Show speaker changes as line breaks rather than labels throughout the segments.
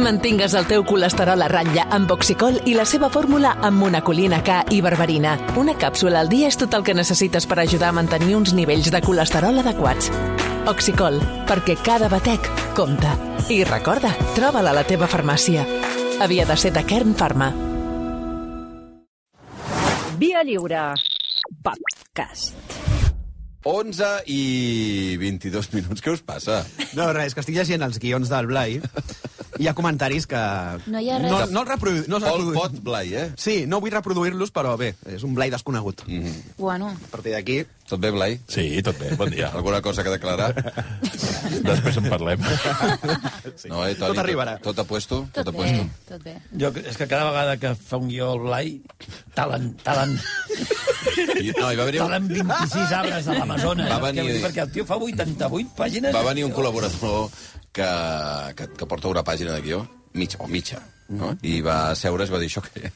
Mantingues el teu colesterol a ratlla amb Oxicol i la seva fórmula amb monacolina K i berberina. Una càpsula al dia és tot el que necessites per ajudar a mantenir uns nivells de colesterol adequats. Oxicol, perquè cada batec compta. I recorda, troba-la a la teva farmàcia. Havia de ser de Kern Pharma.
Via Lliure. Podcast.
11 i 22 minuts. Què us passa?
No, res, que estic llegint els guions del Blai. Hi ha comentaris que...
No hi ha res.
No, no els reprodu... No els
Pol
reprodu...
Pot Blai, eh?
Sí, no vull reproduir-los, però bé, és un Blai desconegut.
Mhm.
Mm.
Bueno,
A partir d'aquí...
Tot bé, Blai?
Sí, tot bé, bon dia.
Alguna cosa que declarar?
Després en parlem.
No, eh,
Tot arribarà.
Tot, tot a puesto?
tot,
a
bé,
puesto.
tot bé.
Jo, és que cada vegada que fa un guió el Blai, talen, talen,
I, no, hi va venir, un,
talen 26 arbres de l'Amazones.
Va
saps què
venir-
vull dir? Perquè el tio fa 88 pàgines.
va venir un col·laborador que, que, que porta una pàgina de guió, mitja, o mitja,
Mm.
no? I va seure i va dir això que...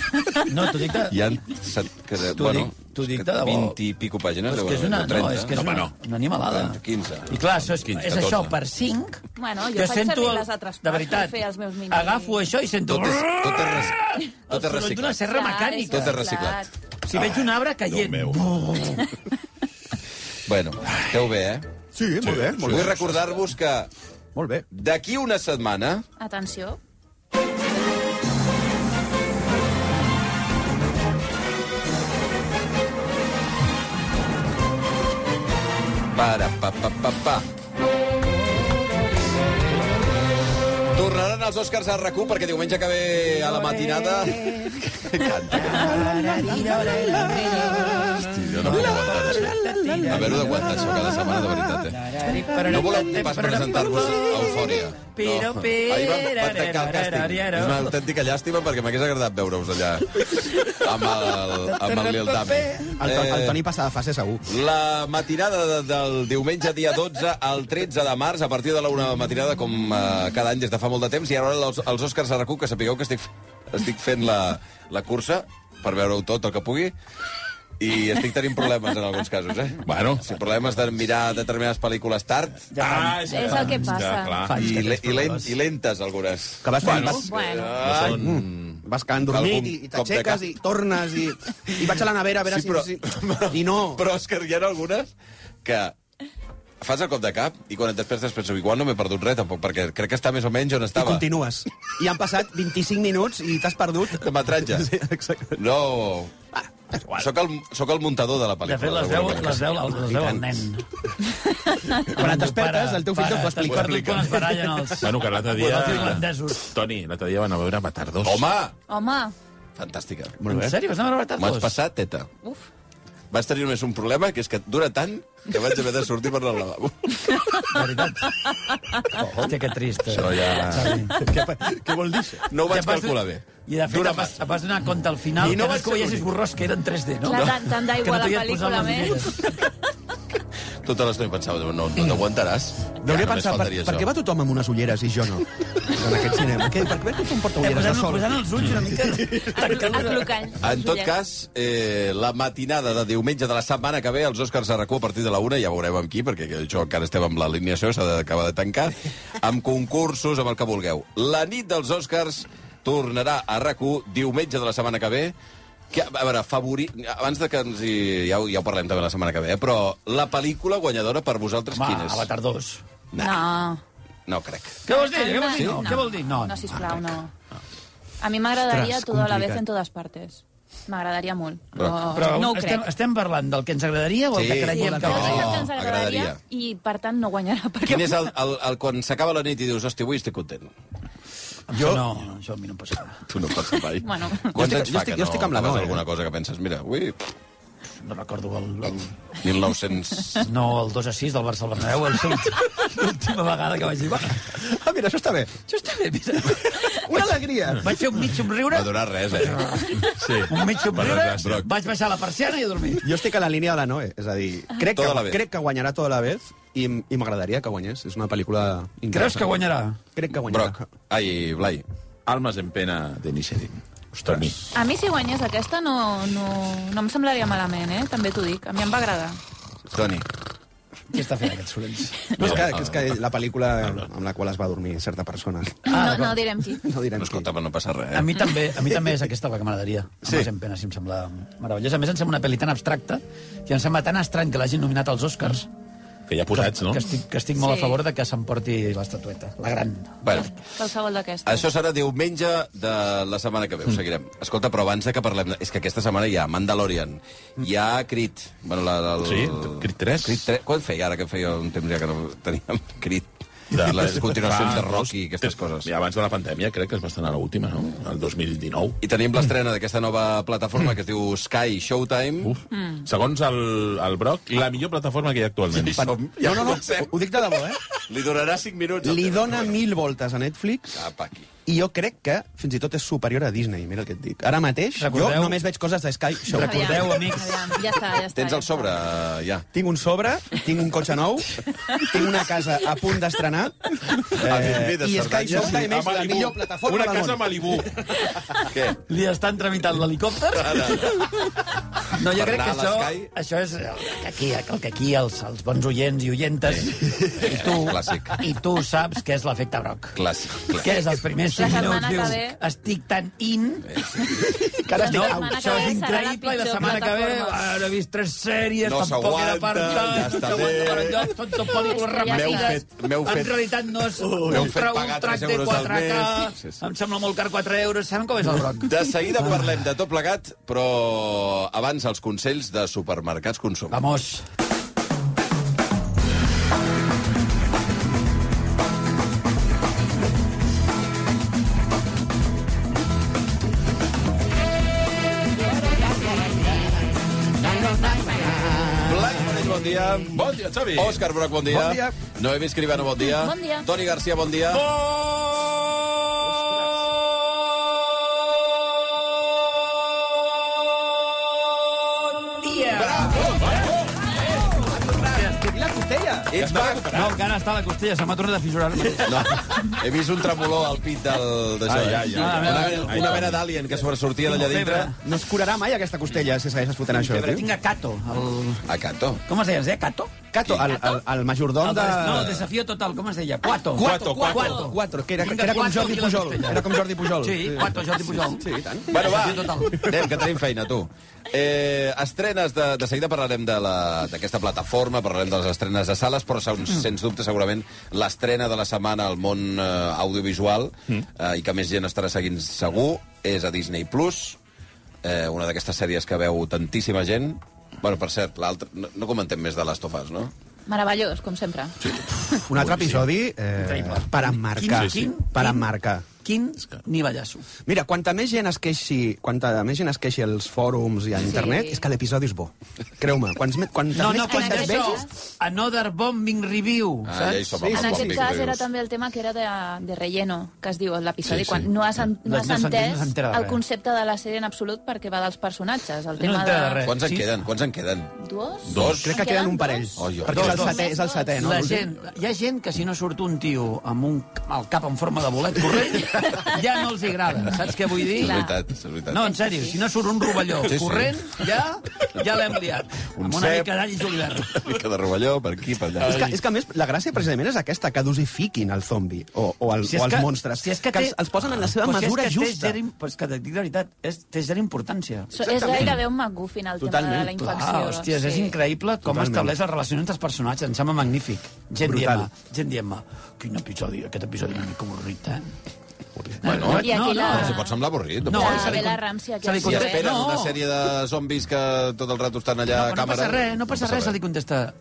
No, t'ho dic de...
Hi ha... Set, que,
T'ho dic- t'ho dic de debò.
20 i pico pàgines.
Però és
deuen
que és una,
haver,
no,
o 30.
és que és
home,
una,
no.
una animalada.
15.
I clar, això és,
15,
és això
14.
per 5.
Bueno, jo faig servir les altres
de
parts
veritat,
per fer els meus mini-
agafo això i sento...
Tot és, tot és, res,
el
tot és
soroll d'una
reciclat.
serra
Clar,
mecànica.
Tot és reciclat.
Clar.
Si veig un arbre caient...
meu.
Bueno, esteu bé, eh?
Sí, sí, molt bé, molt
Vull
bé.
recordar-vos que
Molt bé.
d'aquí una setmana...
Atenció.
Para, pa, pa, pa, pa. Tornaran els Oscars a RAC1 perquè diumenge que ve a la matinada... Canta. Hosti, jo no puc aguantar això. Haver-ho d'aguantar això cada setmana, de veritat, eh? No voleu pas presentar-vos a Eufòria.
Però,
No.
però,
Ahir vam, vam tancar el càsting. És una autèntica llàstima perquè m'hagués agradat veure-us allà amb el, amb el Lil Dami.
El, to-
Eh.
el Toni passa de fase segur.
La matinada de, del diumenge dia 12 al 13 de març, a partir de la una de la matinada, com eh, cada any des de fa molt de temps, i ara els, els Òscars a RAC1, que sapigueu que estic, estic fent la, la cursa per veure-ho tot el que pugui, i estic tenint problemes en alguns casos, eh?
Bueno.
Sí, problemes de mirar determinades pel·lícules tard
Ah,
És el que passa.
clar.
Fa anys
i,
que
le, i,
tens
lent,
problemes.
i lentes, algunes. Eh,
Que vas,
Ah,
bueno, vas,
Bueno,
Ai,
vas quedant dormit
Algun
i, i
cop de cap.
t'aixeques i tornes i, i vaig a la nevera a veure
Sí, però-
si... si... I no.
Però, Òscar, hi ha algunes que fas el cop de cap i quan et despertes penso, igual no m'he perdut res tampoc, perquè crec que està més o menys on
I
estava.
continues. I han passat 25 minuts i t'has perdut...
De metratge.
Sí, exacte.
No...
Ah,
Soc el, soc el muntador de la pel·lícula.
De fet, les veu,
d'alguna manera.
les veu, les veu el nen.
Quan et despertes, el teu fill t'ho
t'ho
pot explicar.
Quan es barallen els...
Bueno, que l'altre
Bueno,
dia...
els irlandesos.
Toni, l'altre dia van a veure Avatar 2.
Home!
Home,
Fantàstica.
En sèrio, vas anar a veure
M'has
Tartos?
passat, teta.
uf.
Vas tenir només un problema, que és que dura tant que vaig haver de sortir per al lavabo.
De veritat. Oh, hòstia, que trist. eh?
Això ja...
Què vol dir això?
No ho
Ja
vaig
vas-
calcular bé.
I de fet, et vas, et vas donar compte al final,
I
I
no
no que no
vaig
és que
ser
veiessis
l'únic.
borrós, que era en 3D, no?
Clar, tant- tant d'aigua
Que
la
t'havien posat
pel·lícula,
les
més.
ulleres.
Tota l'estona hi pensava, no, no t'aguantaràs.
Deuria
Només
pensar, per,
faltaria
per
això.
què va tothom amb unes ulleres i jo no? En aquest cinema. Què, per què tothom porta
Eh,
ulleres de
posant,
sol?
posant els ulls una mica... tancant una-
Aclocant.
Ah, En tot cas, eh, la matinada de diumenge de la setmana que ve, els Òscars a RAC1 a partir de la una, ja veureu amb qui, perquè això encara estem amb l'alineació, s'ha d'acabar de tancar, amb concursos, amb el que vulgueu. La nit dels Òscars tornarà a RAC1 diumenge de la setmana que ve, que, a veure, favori... abans de que ens hi... ja, ho, ja ho parlem també la setmana que ve, eh? però la pel·lícula guanyadora per vosaltres
Home,
quina és?
Avatar 2.
No.
No crec.
Què vols dir? Què vols dir? No. Què vol dir? No, Ah.
no
no.
sisplau, no. A mi m'agradaria
Ostres,
toda la
complicat.
vez en todas partes. M'agradaria molt.
Però-
Però,
Però
no ho
estem,
crec.
estem parlant del que ens agradaria o el
Sí.
que creiem
Sí,
que
no.
és el que ens
Oh,
agradaria,
agradaria.
i per tant no guanyarà. Perquè...
Quin és el, el, el quan s'acaba la nit i dius, hosti, avui estic content?
Jo... No, això a mi no em passa.
Tu no passa mai.
Bueno.
Quants
Jo estic-
anys fa
jo estic-
que
jo
no
estic amb la
acabes
Noe, eh?
alguna cosa que penses, mira, ui,
No recordo el... el...
1900...
No, el 2 a 6 del Barça al Bernabéu, el seu- l'última vegada que vaig dir... Va,
Ah, mira, això està bé.
això està bé, mira.
Una alegria.
Vaig fer un mig somriure,
Va donar res,
Ah.
eh?
Sí.
un mig somriure,
desgràcia.
vaig baixar la persiana i a dormir.
Jo estic a la línia de la Noe, és a dir,
Ah.
crec,
Toda la
que,
vez.
crec que guanyarà tota la vez i, m- i m'agradaria que guanyés. És una pel·lícula
Creus
interessant.
que guanyarà?
Crec que guanyarà.
Broc. Ai, Blai.
Almas en pena de Nisherin. Ostres.
A mi si guanyés aquesta no, no, no em semblaria malament, eh? També t'ho dic. A mi em va agradar.
Toni.
Què està fent aquests sorolls?
No, és, que, és que
Ah.
la pel·lícula amb la qual es va dormir certa persona.
Ah,
No, no direm qui.
No direm
No, escolta, però no passa res. eh?
A mi també, a mi també és aquesta la que m'agradaria. Sí. Amb pena, si em sembla meravellosa. A més, em sembla una pel·li tan abstracta i em sembla tan estrany que l'hagin nominat als Oscars
Que ja posats, no?
que estic, que estic molt
Sí.
a favor de que s'emporti l'estatueta, la gran.
Bueno,
Qualsevol d'aquestes.
Això serà diumenge de la setmana que ve, ho
Mm.
seguirem. Escolta, però abans de que parlem... de- És que aquesta setmana hi ha Mandalorian, hi ha Crit... Bueno, la, la, la,
Mm. Sí, Creed 3.
Crit 3. Quan feia ara que feia un temps ja que no teníem Crit?
De-
I les continuacions
fa
de Rocky i aquestes
tres-
coses.
I abans de la pandèmia crec que es va estrenar l'última, no? El 2019.
I tenim l'estrena d'aquesta nova plataforma que es diu Sky Showtime.
Uf. Mm. Segons el, el Broc, la millor plataforma que hi ha actualment.
I som, ja no, no,
Ho- Ho dic de debò, eh?
Li donarà 5 minuts. al
Li
tema.
dona mil voltes a Netflix
Cap aquí.
i jo crec que fins i tot és superior a Disney, mira el que et dic. Ara mateix
Recordeu-
jo només veig coses de Sky Show.
Recordeu- Recordeu, amics.
Aviam, ja està, ja està.
Tens
ja
el sobre, eh, ja.
Tinc un sobre, tinc un cotxe nou, tinc una casa a punt d'estrenar,
Ah,
eh,
Avinguda
i Sky
Cerdanya, sí.
Showtime
A
és la
Malibu.
millor plataforma
Una
del
casa a
món.
Malibú.
Què?
Li estan tramitant l'helicòpter? No, jo
Per
crec que
anar a
això,
l'Sky?
això és el que aquí, el que aquí els, els bons oients i oientes i, tu,
Clàssic.
i tu saps què és l'efecte Broc.
Clàssic, clàssic.
Què és els primers
La
5 minuts?
setmana que
Dius,
ve- Eh,
estic tan in... Que ara estic
La
out.
setmana que
Això
ve serà
és
la
increïble, i la
pitjor
setmana que ve
plataforma.
ara he vist tres sèries,
No
tampoc era
s'aguanta,
per tant,
ja està
no
bé.
s'aguanta per enlloc, són tot pel·lícules
Ja
repetides.
M'heu
fet- m'heu fet-
En realitat no és
M'heu
un,
fet
tra un
pagar tres
tracte
euros al
4K,
mes. Sí, sí.
em sembla molt car 4 euros, saben com és el Broc?
De seguida parlem de tot plegat, però abans els consells de supermercats consum.
Vamos.
Blanc, Monell, bon dia.
Bon dia, Xavi.
Òscar Broc, bon dia.
Bon dia.
Noemi Escribano, bon dia.
Bon dia.
Toni Garcia, bon dia.
Tinc la costella.
Ets mag?
No, encara està a la costella, se m'ha tornat a fissurar.
No, he vist un tremolor al pit del... d'això,
Ai,
eh?
ai, ai.
Una, una mena d'alien que sobresortia d'allà dintre.
No es curarà mai aquesta costella si segueixes fotent això,
Febre,
tio.
tinc a Cato, el...
A Cato.
Com es deia, es deia Cato?
Cato, el, el, el majordom
El
de...
des- No, el desafío total, com es deia? Cuato.
Cuato,
Cuato.
Cuato, Cuato, que era-
Tinc
que era com
Cuato
Jordi
i la
Pujol,
costella.
era com Jordi Pujol.
Sí,
Sí.
Cuato, Jordi Pujol. Sí, sí, tant.
Bueno, va,
Desafío total.
anem, que tenim feina, tu. Eh, estrenes, de, de seguida parlarem de la- d'aquesta plataforma, parlarem de les estrenes de sales, però sens, sens dubte, segurament, l'estrena de la setmana al món eh, audiovisual, eh, i que més gent estarà seguint segur, és a Disney+, Plus, eh, una d'aquestes sèries que veu tantíssima gent. Bueno, per cert, l'altra... No, no comentem més de Last of Us, no?
Meravellós, com sempre. Sí.
Un altre episodi eh,
Increïble.
per emmarcar.
Quin- Sí, sí.
Per emmarcar.
Quin nivellasso.
Mira, quanta més gent es queixi, quanta més gent es queixi als fòrums i a internet, és que l'episodi és bo. Creu-me, quants, me- quantes
No,
més
no,
quan
quan
queixes
això-
vegis...
vegis... Another bombing review,
Ah, ja hi
saps?
som, amb
Sí,
els
En aquest
bombings
cas
greus.
era també el tema que era de, de relleno, que es diu en l'episodi, sí,
Sí, sí.
sí. quan no has, en, no
No
has
s'entén, no
entès
s'entera de
el
res.
concepte de la sèrie en absolut perquè va dels personatges. El
No
tema
s'entera de
de...
res.
Quants en
Sí.
queden? Quants en queden?
Dos?
Dos.
Crec que queden un parell.
Ah, dos?
Oh, jo-
Perquè és el
Dos.
setè, és el setè, no?
La gent, hi ha gent que si no surt un tio amb un, el cap en forma de bolet corrent, ja no els hi agrada. Saps què vull dir?
És veritat, és veritat.
No, en sèrio, si no surt un rovelló
Sí, sí.
corrent, ja ja l'hem liat.
Un
amb una
cep.
mica d'all i julivert.
Una mica de rovelló, per aquí, per allà.
És que, és que, a més, la gràcia precisament és aquesta, que dosifiquin el zombi o, o, el,
Si
si
és
o els
que-
monstres.
si és que
que
té-
els, els posen en la seva
Però si és
mesura
que té
justa.
zero im- però és que et dic la veritat, és, té zero importància.
So, és gairebé un McGuffin el tema de la
Totalment.
infecció.
Ah, hòsties, és increïble com
Totalment.
estableix la relació entre els personatges. Em sembla magnífic. Gent
Brutal.
dient-me, gent dient-me, quin episodi, aquest episodi una mica avorrit, eh?
Bueno,
I aquí la-
Però si pot semblar avorrit. No,
No,
passa
La
res.
se li
Bella
con-
Ramsey aquí
se li
al
I
contesta-
carrer.
esperen
No.
una sèrie de zombis que tot el rato estan allà
No,
a
però no
càmera.
passa res, no passa res, se li contesta.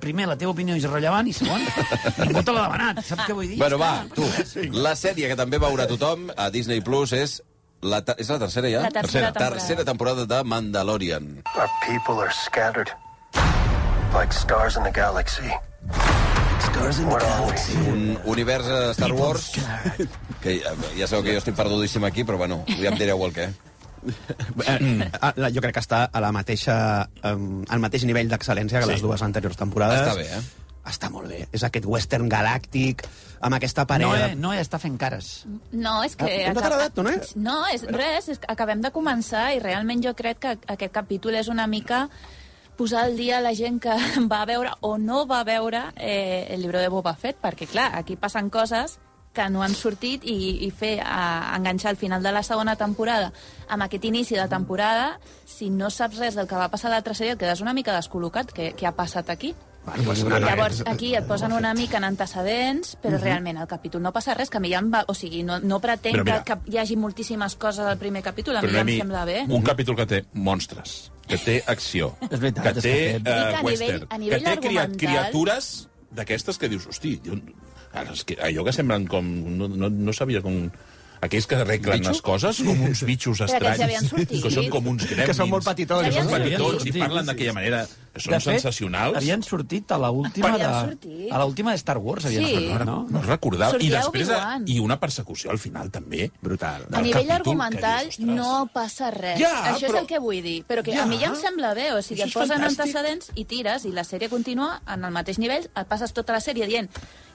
Primer, la teva opinió és irrellevant, i segon, ningú te l'ha demanat. Saps què vull dir?
Bueno, va, tu. La sèrie que també veurà tothom a Disney Plus és... La ter- és la tercera, ja?
La tercera temporada.
tercera temporada de Mandalorian.
Our people are scattered like stars in the galaxy. Stars in the galaxy.
Un univers eh, Star Wars... Que ja, ja sabeu que jo estic perdudíssim aquí, però bueno, ja em direu el què.
mm.
Eh, ah, la- jo crec que està a la mateixa, um, al mateix nivell d'excel·lència que sí. les dues anteriors temporades.
Està bé, eh?
Està molt bé. És aquest western galàctic, amb aquesta parella...
Noé, Noé està fent cares.
No, és que...
Ah, no t'ha agradat, no, eh?
No, és res, és que acabem de començar i realment jo crec que aquest capítol és una mica posar al dia la gent que va veure o no va veure eh, el llibre de Boba Fett, perquè, clar, aquí passen coses que no han sortit i, i fer a, enganxar al final de la segona temporada amb aquest inici de temporada si no saps res del que va passar a l'altra sèrie et quedes una mica descol·locat, què, què ha passat aquí?
Bueno, pues, no, no,
Llavors,
eh,
aquí et posen una mica en antecedents, però
Mhm.
realment al capítol no passa res, que a mi ja em va... O sigui, no, no pretenc
Però mira-
que, que hi hagi moltíssimes coses al primer capítol, a mi
Però
ja
a mi,
em sembla bé.
un capítol que té monstres, que té acció,
És veritat,
que
és
té
que té-
eh,
Dic a
western,
nivell- a nivell
que té cria-
argumental-
criatures d'aquestes que dius, hosti, jo, ara, és que allò que semblen com... No, no, no sabia com... Aquells que arreglen les coses com uns bitxos
Però aquests
estranys.
ja havien sortit.
que són com uns gremlins.
Que són molt petitons,
Que són
no?
petitons i
Sí, sí,
parlen
sí.
d'aquella manera. Que són
De fet,
sensacionals.
Havien sortit a l'última de...
Havien sortit.
A l'última de Star Wars havien
Sí.
sortit,
No,
no?
no es recordava. I
Sortia
després,
Obi-Wan.
i una persecució al final, també.
Brutal.
A
del
nivell
capítol,
argumental
que dius, ostres.
no passa res.
Ja,
Això
però-
és el que vull dir. Però que a mi ja em sembla bé. O sigui, et
Això és
posen
fantàstic.
antecedents i tires, i la sèrie continua en el mateix nivell. Et passes tota la sèrie dient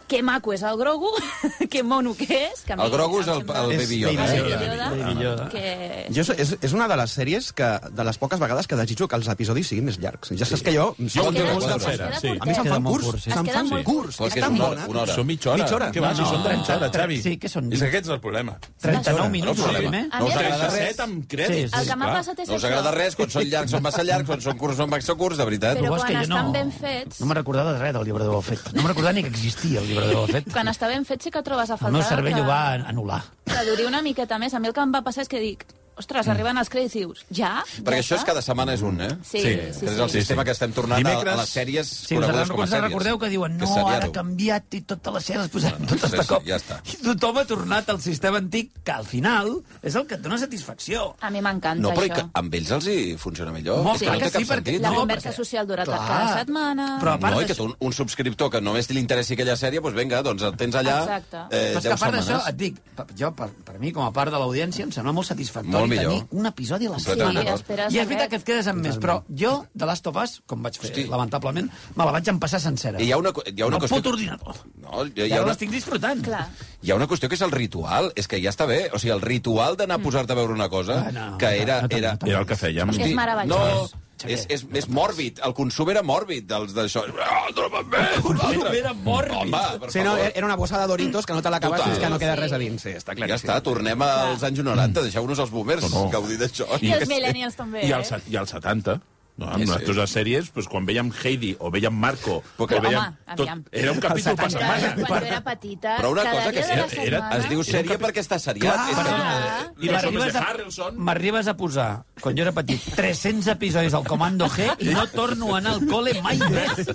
que maco és el Grogu, que mono que és... Que a mi
El Grogu és
em
el-
sembla-
el Baby Yoda,
El
eh?
Baby Yoda,
Baby Yoda.
que-
Jo, so- és, és una de les sèries que, de les poques vegades que desitjo que els episodis siguin més llargs. Ja saps que jo...
Jo
segon
en
de
tinc
gust
molta
de
cera,
passar.
sí.
A mi
Es
se'n
queda
fan
molt
curts,
curt, sí.
se'n
Es
fan
queda molt
curts.
curt.
És tan
Una hora,
bona.
una hora.
Són mitja hora.
Mitja hora.
Què va, si
No,
són 30 hores,
tre-
Xavi.
sí, que són
És aquest és el problema.
39
No
minuts,
us
el
agrada.
primer.
A
No
mi
us
em
agrada
agrada
res. Amb
Sí,
crèdits.
sí.
El que m'ha passat és
No us
això.
agrada res, quan són llargs són massa llargs, quan són curts són massa curts, de veritat.
Però
Però
quan
que jo
estan
no-
ben fets-
No me'n recordava de res del llibre de Boba Fett. No me'n recordava ni que existia el llibre de Boba Fett.
Quan està ben fet sí que trobes a faltar...
El meu cervell
que-
ho va anul·lar.
Que duri una miqueta més. A mi el que em va passar és que dic... Ostres, arriben els crèdits i dius... Ja?
Perquè
ja
això és
està?"
cada setmana és un, eh?
Sí, sí, sí.
És el
sí.
sistema que estem tornant a, a
Dimecres-
les sèries
Sí, us,
conegudes com a
us
sèries.
recordeu que diuen no,
seriado.
ara ha canviat i tota totes les sèries les posem
sí,
totes de
sí,
cop.
ja està.
I tothom ha tornat al sistema antic, que al final és el que et dona satisfacció.
A mi m'encanta
No, però i
això.
que amb ells els hi funciona millor.
Molt
Que
clar
Oh, no
que
té cap
sí, perquè
sentit.
La
No,
conversa
perquè-
social dura
Clar.
cada setmana...
Però a part
No, i que
d'això-
tu, un subscriptor que només li interessi aquella sèrie, doncs vinga, doncs el tens allà
Exacte.
eh,
Però és que
10
a part d'això,
setmanes.
et dic, per- jo, per, per mi, com a part de l'audiència, em sembla molt satisfactori
Molt millor.
tenir un episodi a la
Sí,
Completament
setmana.
d'acord.
esperes
I és
a
veritat
res.
que et quedes amb més, però jo, de Last of Us, com vaig fer,
Hosti.
lamentablement, me la vaig empassar sencera.
I hi ha una co- hi ha una
el
qüestió que-
puto ordinador.
No, hi ha-
I
hi ha
ara
una-
l'estic disfrutant.
Clar.
Hi ha una qüestió que és el ritual. És que ja està bé. O sigui, el ritual d'anar a posar-te a veure una cosa
Ah, no,
que
no,
era...
no, no,
era...
no,
Era el que fèiem.
És meravellós.
No,
Xavier.
és, és, és mòrbid. El consum era mòrbid dels d'això. Ah, troba'm bé!
consum era mòrbid.
Home, per
Sí, no,
favor.
era una bossa de Doritos que no te l'acabes
Total.
fins que no queda res a dins. Sí, està
Ja
claríssim.
està, tornem als anys 90, deixeu-nos els boomers
No, no.
gaudir d'això.
I els millennials també,
I
eh?
al, se- i al 70. No, amb
Sí, sí.
les dues sèries, doncs, quan vèiem Heidi o vèiem Marco...
Però,
o veiem...
home, aviam.
tot, era un capítol per
Quan jo
setmana.
era- Quan jo era petita,
Però una
cada
cosa que
dia
sí,
de la
era,
setmana...
eh?
es diu sèrie perquè està seriat. És que eh, no,
Clar.
I les homes de Harrelson...
M'arribes a posar, quan jo era petit, 300 episodis del Comando G i no torno a anar al col·le mai més.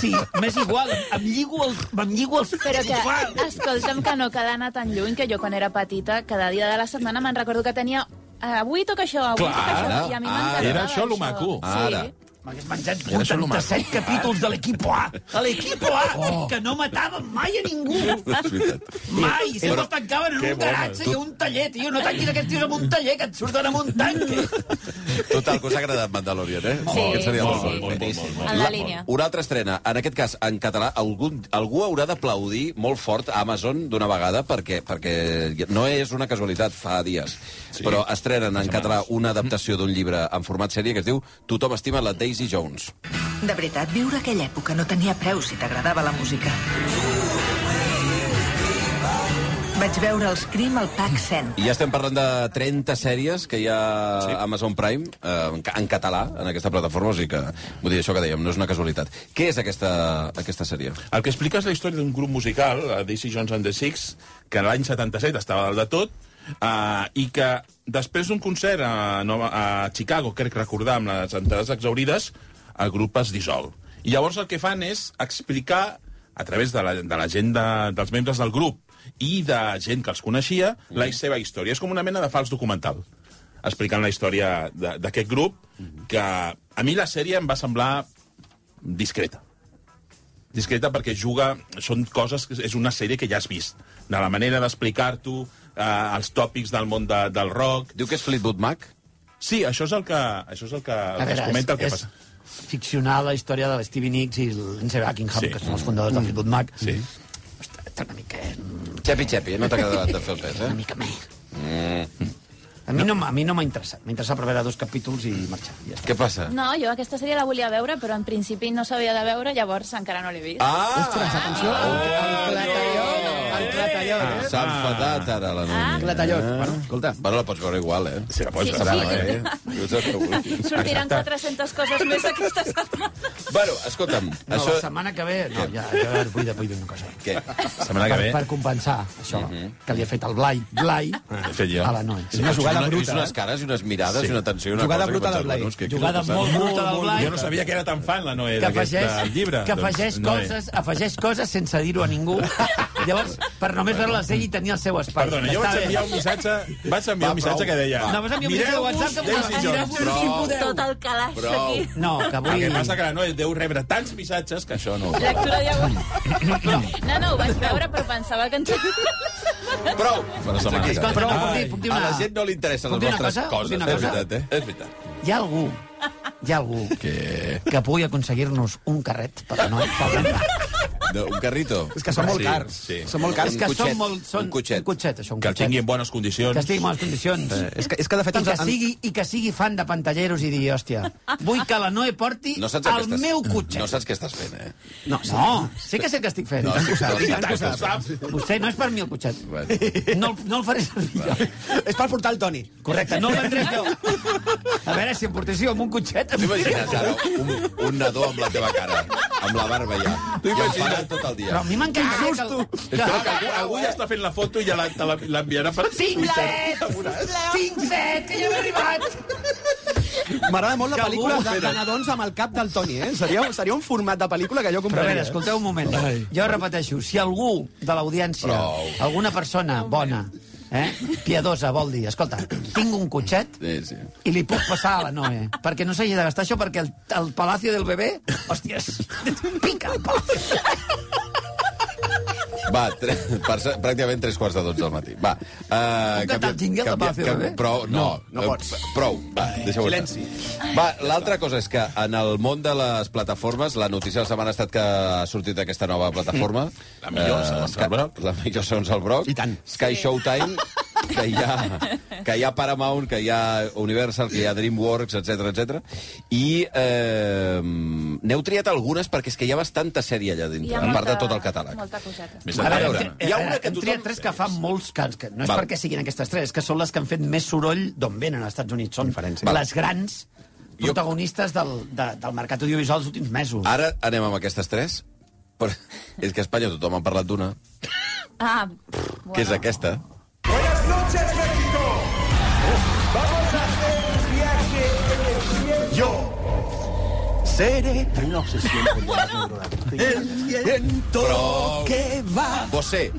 Sí, m'és igual, em lligo, el, em lligo els...
Però que, escolta'm, que no cal anar tan lluny, que jo quan era petita, cada dia de la setmana me'n recordo que tenia "Ah, avui toca això, avui
Clar,
toca això, i a mi
ara,
m'encantava
era això lo maco.
Sí.
Ah, Ara.
M'hagués menjat
Era això lo maco.
87 capítols de l'Equipo A. De l'Equipo A,
Oh.
que no mataven mai a ningú.
és veritat.
Mai. Sempre els tancaven en
Que
un
bona.
garatge i en un taller, tio. No tanquis aquests tios en un taller, que et surten amb un tanque.
Total, que us ha agradat Mandalorian, eh?
Sí.
Aquest seria el
Molt,
resum.
molt, molt, molt, molt.
En la
La-
línia.
Una altra estrena, en aquest cas en català, algun, algú haurà d'aplaudir molt fort a Amazon d'una vegada perquè, perquè no és una casualitat, fa dies. Sí. Però estrenen en català una adaptació
Mm-hmm.
d'un llibre en format sèrie que es diu Tothom estima la Daisy Jones.
De veritat, viure aquella època no tenia preu si t'agradava la música. Vaig veure els crim al Pac Sen.
I ja estem parlant de 30 sèries que hi ha sí. Amazon Prime, eh, en, ca- en català, en aquesta plataforma, o sigui que, vull dir, això que dèiem, no és una casualitat. Què és aquesta, aquesta sèrie?
El que explica és la història d'un grup musical, eh, Daisy Jones and the Six, que l'any 77 estava dalt de tot, uh, i que després d'un concert a, Nova, a Chicago, crec recordar, amb les entrades exaurides, el grup es dissol. I llavors el que fan és explicar, a través de la, de la gent de, dels membres del grup i de gent que els coneixia, la seva història. És com una mena de fals documental explicant la història de- d'aquest grup, que a mi la sèrie em va semblar discreta discreta perquè juga... Són coses... que És una sèrie que ja has vist. De la manera d'explicar-t'ho, eh, els tòpics del món de, del rock...
Diu que és Fleetwood Mac?
Sí, això és el que, això és el que, el que es comenta, el que passa.
ficcionar la història de l'Stevie Nicks i l'Ense Buckingham,
Sí.
que són els fundadors de Fleetwood Mac.
Sí.
Està una mica,
Xepi, xepi, no t'ha quedat de fer el pes,
una
eh?
Mm.
mica més. A mi no, m'ha- a mi no m'ha interessat. M'ha interessat per veure dos capítols i marxar. Ja està.
Què passa?
No, jo aquesta sèrie la volia veure, però en principi no s'havia de veure, llavors encara no l'he vist.
Ah!
Ostres, atenció, el clatallot, el
Ah.
clatallot, eh?
Ah! S'ha enfatat ara la noia.
El clatallot.
Ah.
Bueno, escolta,
Bueno, la pots veure igual, eh?
Sí, la pots
Sí,
veure,
sí.
eh? Dius el que vulguis.
Sortiran
Exacte.
400 coses més aquesta setmana.
Bueno, escolta'm,
No,
això...
la setmana que ve... No, ja, ja vull, dir- vull dir una cosa.
Què?
La setmana que
Per,
ve...
per compensar això que li ha fet el Blai, Blai
He fet jo.
a la noia.
És una jugada
He vist
bruta,
unes
eh?
cares i unes mirades i una tensió i una
Jugada
cosa...
bruta del Blai.
Jugada molt bruta del Blai.
Jo no sabia que era tan fan, la Noé,
que
d'aquest eh,
afegeix,
llibre.
que afegeix
Doncs, Noé.
coses, afegeix coses sense dir-ho a ningú. Llavors, per només veure la sèrie i tenir el seu espai.
Perdona, jo
Està
vaig
bé.
enviar un missatge... Vaig enviar
Va,
un missatge
prou.
que deia...
No, vas enviar un missatge de
"Mireu-vos
WhatsApp que
Daisy
m'ho
Jones".
diràs
Tot el calaix
Prou.
aquí.
No, que avui...
El que passa que la Noé deu rebre tants missatges que això no...
Lectura diagonal. No, no, ho vaig veure, però pensava que ens...
Prou! Per la setmana
Escolta,
que
però
ve.
puc dir, puc dir
A
una...
la gent no li interessen
Puc
les
dir una
vostres
cosa? Puc
coses,
dir una
és
cosa?
veritat, eh?
És veritat.
Hi ha algú, hi ha algú que, que pugui aconseguir-nos un carret per la Noé.
Doncs-
No, un carrito.
És que són molt
Sí,
cars.
sí.
Són molt cars.
És
Un
que
cotxet,
són molt... Són,
un cotxet.
Un cotxet, això, un
Que el
cotxet.
tingui en bones condicions.
que estigui en bones condicions.
Eh,
Eh, És que, és que de fet...
I que,
ens-
sigui, I que sigui fan de pantalleros i dir, hòstia, vull que la Noe porti
No saps
el
què estàs...
meu cotxet.
No saps què estàs fent, eh?
No, no, sé que sé que estic fent.
No, sí, no, sí,
Tant que ho
sí, sí.
saps.
Vostè no és per mi el cotxet.
Bueno.
No, el- no el faré servir jo.
És per portar el Toni.
Correcte, no el vendré jo. A veure, si em portéssiu amb un cotxet...
T'imagines ara un, un nadó amb la teva cara, amb la barba ja. I el farà tot el
Però
dia.
a mi m'encantaria que... el- que...
Espera, que algú, algú ja està fent la foto i ja la- te la- l'enviarà per...
Cinc set!
eh?
Cinc set, que ja m'he arribat!
M'agrada molt la
Que
pel·lícula
algú ho
de, de
espera.
nadons amb el cap del Toni, eh? Seria, seria un format de pel·lícula que jo
Però a
compraria.
veure, escolteu un moment. Jo repeteixo, si algú de l'audiència,
Prou.
alguna persona bona, eh, piadosa, vol dir, escolta, tinc un cotxet
Sí, sí.
i li puc passar a la Noe, perquè no s'hagi de gastar això, perquè el, el Palacio del Bebé, hòsties, pica el Palacio.
Va, tre, per, pràcticament tres quarts de dotze del matí. Va. Uh,
cantar el jingle de Palacio Bebé?
prou, no, no, pots. Prou, va, deixa-ho Silenci. Va, l'altra cosa és que en el món de les plataformes, la notícia de la setmana ha estat que ha sortit aquesta nova plataforma. Eh,
La millor, segons el
Sky-
Broc.
La millor, segons el Broc.
I tant.
Sky Showtime, que hi ha, que hi ha Paramount, que hi ha Universal, que hi ha DreamWorks, etc etc. I eh, n'heu triat algunes perquè és que hi ha bastanta sèrie allà dintre, a part de tot el catàleg.
Molta coseta.
Més
A
endavant.
veure, hi ha una que tothom... tres que fa molts cants, que no és
Val.
perquè siguin aquestes tres, que són les que han fet més soroll d'on venen als Estats Units. Són
Diferència.
les grans protagonistes del, de, del mercat audiovisual dels últims mesos.
Ara anem amb aquestes tres. Però és que a Espanya tothom ha parlat d'una,
Ah,
que és aquesta.
Seré
Prou!
que va...
Bosé,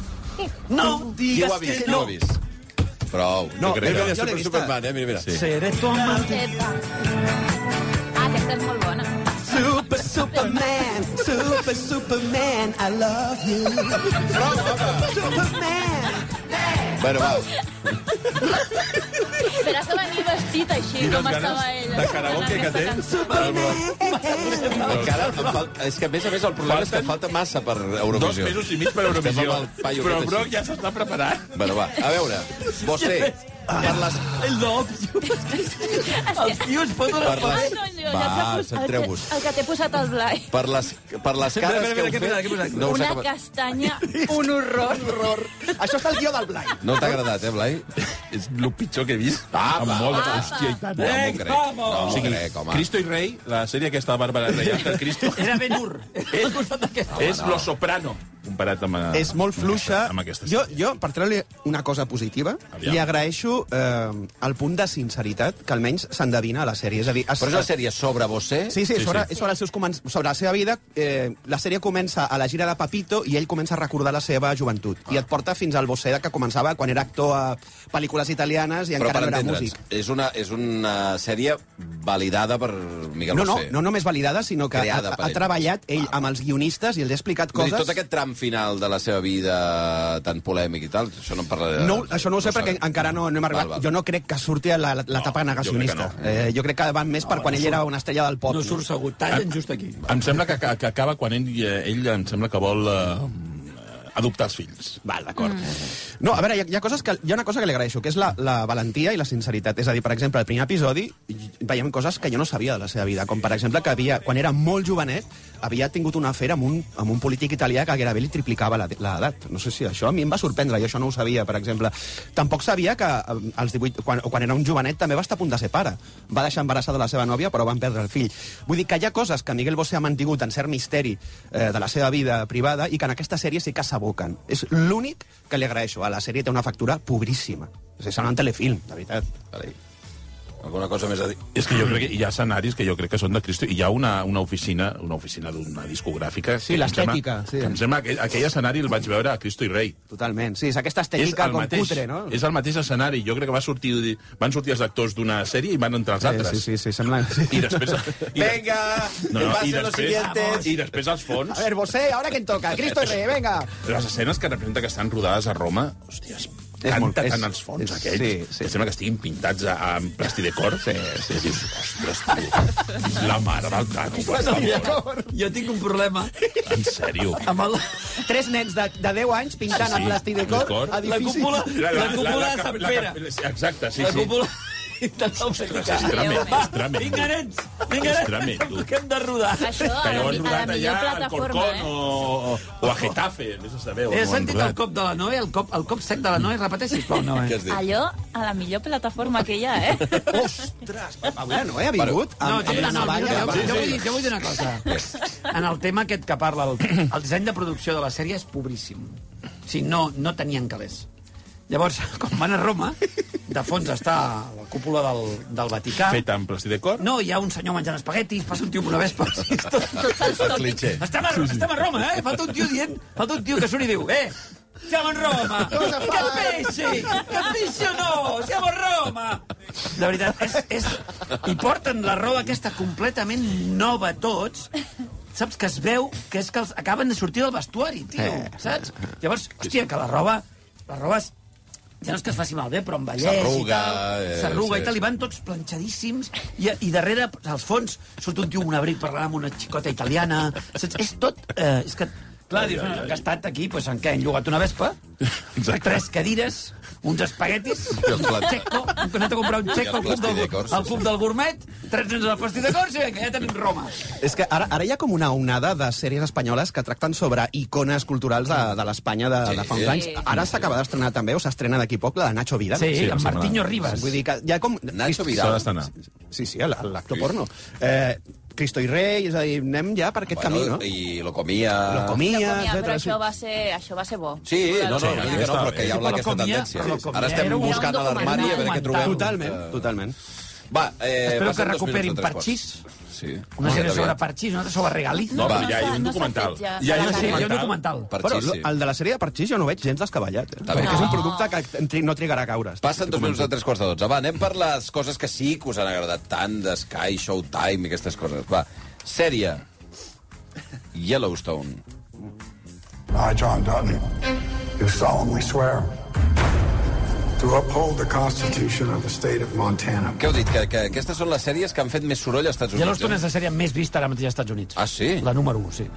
No
qui ho
digues
ha vist? Qui ho ha vist? Prou.
No,
crec.
jo- jo l'he
Super-
vista.
Superman, eh? Mira, mira. Sí.
Seré tu amante.
Epa. Ah, aquesta és molt bona.
Super Superman, Super Superman, I love you. Superman.
Bueno, va.
Però has de venir vestit així,
Quines
com estava
ganes
ella.
de karaoke que té.
Encara em falta... És que, a més a més, el problema és que falta massa per Eurovisió.
Dos mesos i mig per
Estem
Eurovisió.
amb el paio
Però el
aquest
Broc
així.
ja s'està preparant.
Bueno, va, a veure. Bosé, per les...
El nom. Els tios foten
Per
la...
les... Va, centreu-vos.
El que t'he posat al Blai.
Per les, per les cares que heu fet... No, us
Una
acaba-
castanya, un horror.
Això està el guió del Blai.
no t'ha agradat, eh, Blai?
És el pitjor que he vist.
Apa.
Amb molt
Apa.
de... Hòstia, i tant. eh?
No, m'ho crec. No,
O
m'ho
sigui,
crec, home.
Cristo i Rei, la sèrie aquesta de Bàrbara Reial, que el Cristo
Era Ben Hur. Al costat d'aquesta.
és Lo Soprano, comparat amb...
És molt fluixa.
Amb aquesta,
Jo, jo per treure-li una cosa positiva,
Aviam.
li agraeixo eh, el punt de sinceritat que almenys s'endevina a la sèrie. És a dir, es,
Però és una sèrie sobre Bosé?
Sí, sí,
Sí,
és sobre,
sí.
és sobre, els seus comen... sobre la seva vida. Eh, la sèrie comença a la gira de Papito i ell comença a recordar la seva joventut. I et porta fins al Bosé que començava quan era actor a pel·lícules italianes i
Però per
encara no era
entendre'ns,
músic.
és una, és una sèrie validada per Miguel
No, no,
Bosé.
no només validada, sinó que ha,
Creada per
ha
ell.
treballat ell amb els guionistes i els ha explicat
Vull dir,
coses...
Tot aquest tram final de la seva vida tan polèmic i tal, això no en parlaré.
No, això no ho sé perquè encara no, no hem arribat.
Val, val.
Jo no crec que surti a la- l'etapa
No, jo crec que
negacionista. Jo crec, no. eh, jo crec que van més per quan ell era una estrella del pop.
No surt segut. Tallen just aquí.
Em sembla que, que, que acaba quan ell, eh, ell em sembla que vol... Eh, adoptar els fills.
Val, d'acord. Mm. No, a veure, hi ha, hi ha, coses que, hi ha una cosa que li agraeixo, que és la, la valentia i la sinceritat. És a dir, per exemple, al primer episodi veiem coses que jo no sabia de la seva vida, com per exemple que havia, quan era molt jovenet havia tingut una afera amb un, amb un polític italià que gairebé li triplicava la- l'edat. No sé si això a mi em va sorprendre, jo això no ho sabia, per exemple. Tampoc sabia que eh, als 18, quan, quan era un jovenet també va estar a punt de ser pare. Va deixar embarassada la seva nòvia, però van perdre el fill. Vull dir que hi ha coses que Miguel Bosé ha mantingut en cert misteri eh, de la seva vida privada i que en aquesta sèrie sí que s'aboquen. És l'únic que li agraeixo. A la sèrie té una factura pobríssima. És a dir, sembla un telefilm, de veritat.
Alguna cosa més a dir?
És que jo crec que hi ha escenaris que jo crec que són de Cristo i hi ha una, una oficina una oficina d'una discogràfica
Sí,
que em
l'estètica,
sembla-
sí.
que Em sembla que aquell escenari el vaig veure a Cristo i Rei.
Totalment, sí, és aquesta
És
estètica
el,
com
mateix,
cutre, no?
és el mateix escenari. Jo crec que va sortir, van sortir els actors d'una sèrie i van entrar els
Sí,
altres.
sí, sí, sí, sembla... Sí.
I després... I
Venga,
No, no, i, després,
siguientes.
I després els fons,
A ver, Bosé, ahora que toca. Cristo y Rey, venga.
les escenes que representa que estan rodades a Roma, hòsties,
És molt-
canta
és-
tant els fons
és-
aquells,
sí, sí.
que sembla que estiguin pintats a, a plastí de cor. Sí, sí. I dius, ostres, tu, la mare del Tano, per favor,
Jo tinc un problema
en sèrio.
amb el...
Tres nens de, de 10 anys pintant sí, sí. a plastí de cor,
La cúpula, la, cúpula de Sant Pere.
cap- sí, Exacte, sí,
la
sí.
cúpula... Ostres,
és tremendo, és tremendo.
Vinga, nens, vinga,
És tremendo.
nens, que hem de rodar.
Això a la,
Que ho han
mi- a la
rodat allà
millor
al
plataforma, eh?
Corcón o, o a Getafe, més a saber. on
He
ho han
sentit el
rodat.
cop de la Noe, el cop, el cop sec de la Noe. Repeteix, sisplau,
Què
Noe.
has dit?
Allò a la millor plataforma que hi ha, eh?
Ostres, avui la Noé eh, ha vingut amb,
No,
amb
no,
la
no,
navalla.
jo,
Ah, No,
jo, vull dir, jo vull dir una cosa. En el tema aquest que parla, el, el disseny de producció de la sèrie és pobríssim. O sigui, no, no tenien calés. Llavors, quan van a Roma, de fons està la cúpula del, del Vaticà.
Fet amb plastí de cor.
No, hi ha un senyor menjant espaguetis, passa un tio amb una vespa. Sí, tot, tot,
És el cliché.
estem, a, estem a Roma, eh? Falta un tio dient... Falta un tio que surt i diu... Eh, siamo a Roma!
Cosa fa?
Capisci? Capisci o no? Siamo a Roma! De veritat, és, és... I porten la roba aquesta completament nova tots, saps que es veu que és que els acaben de sortir del vestuari, tio,
Eh,
saps? Llavors, hòstia, que la roba... La roba és... Ja no és que es faci malbé, però envelleix i
S'arruga,
tal.
eh,
S'arruga
sí,
i tal,
sí.
i van tots planxadíssims, i, i darrere, als fons, surt un tio amb un abric parlant amb una xicota italiana. Saps? És tot... Eh, és que, clar, dius, bueno, han gastat aquí, pues, en què? Han llogat una vespa,
Exacte.
tres cadires, uns espaguetis,
I el
un
plat.
xeco, un anat a comprar un xeco al club
plastí
del,
de cors,
al
sí,
club del gourmet, tres nens al pastí de cors, i vinga, ja tenim Roma.
És que ara, ara hi ha com una onada de sèries espanyoles que tracten sobre icones culturals de, de l'Espanya de, de fa uns anys. Ara s'acaba d'estrenar també, o s'estrena d'aquí poc, la de Nacho Vidal.
Sí,
sí,
sí amb
em sembla.
Martinho Ribas.
Vull dir que hi ha com...
Nacho
S'ha
Vidal.
d'estrenar.
Sí, sí, el- l'actor porno. Eh, Cristo i Rei, és a dir, anem ja per aquest camí, no?
I Ah. lo comia...
Lo
La
comia,
comia, però
etcètera, sí.
això va ser, això va ser bo.
Sí, no, no,
Sí,
no, dic que no, però que hi ha
Sí, però
aquesta
lo comia,
tendència.
però lo comia
Ara estem
era un
buscant a l'armari a veure què
documental.
trobem.
Totalment,
Ah,
totalment.
Va, eh, passen
Espero que
dos minuts
recuperin
a tres quarts.
parxís.
Sí.
Una sèrie
Aviat,
sobre
aviat.
parxís, una altra sobre regaliz.
No,
Va.
però ja hi ha
No
un
s'ha
documental.
fet ja.
Ja hi ha
Ah,
un
sí, hi ha un
documental.
documental.
Però
Parxís, sí.
el de la sèrie de Parxís jo no veig gens descaballat. Eh?
Està bé.
Perquè
Ah.
és un producte que tri- no trigarà a caure.
Passen dos minuts de tres quarts de dotze. Va, anem per les coses que sí que us han agradat tant, de Sky, Showtime i aquestes coses. Va, sèrie. Yellowstone.
I, John Dutton, do solemnly swear to uphold the Constitution of the state of Montana.
Què heu dit? Que, que aquestes són les sèries que han fet més soroll als Estats Units.
Yellowstone és
eh?
la sèrie més vista ara mateix als Estats Units.
Ah, sí?
La número 1, sí.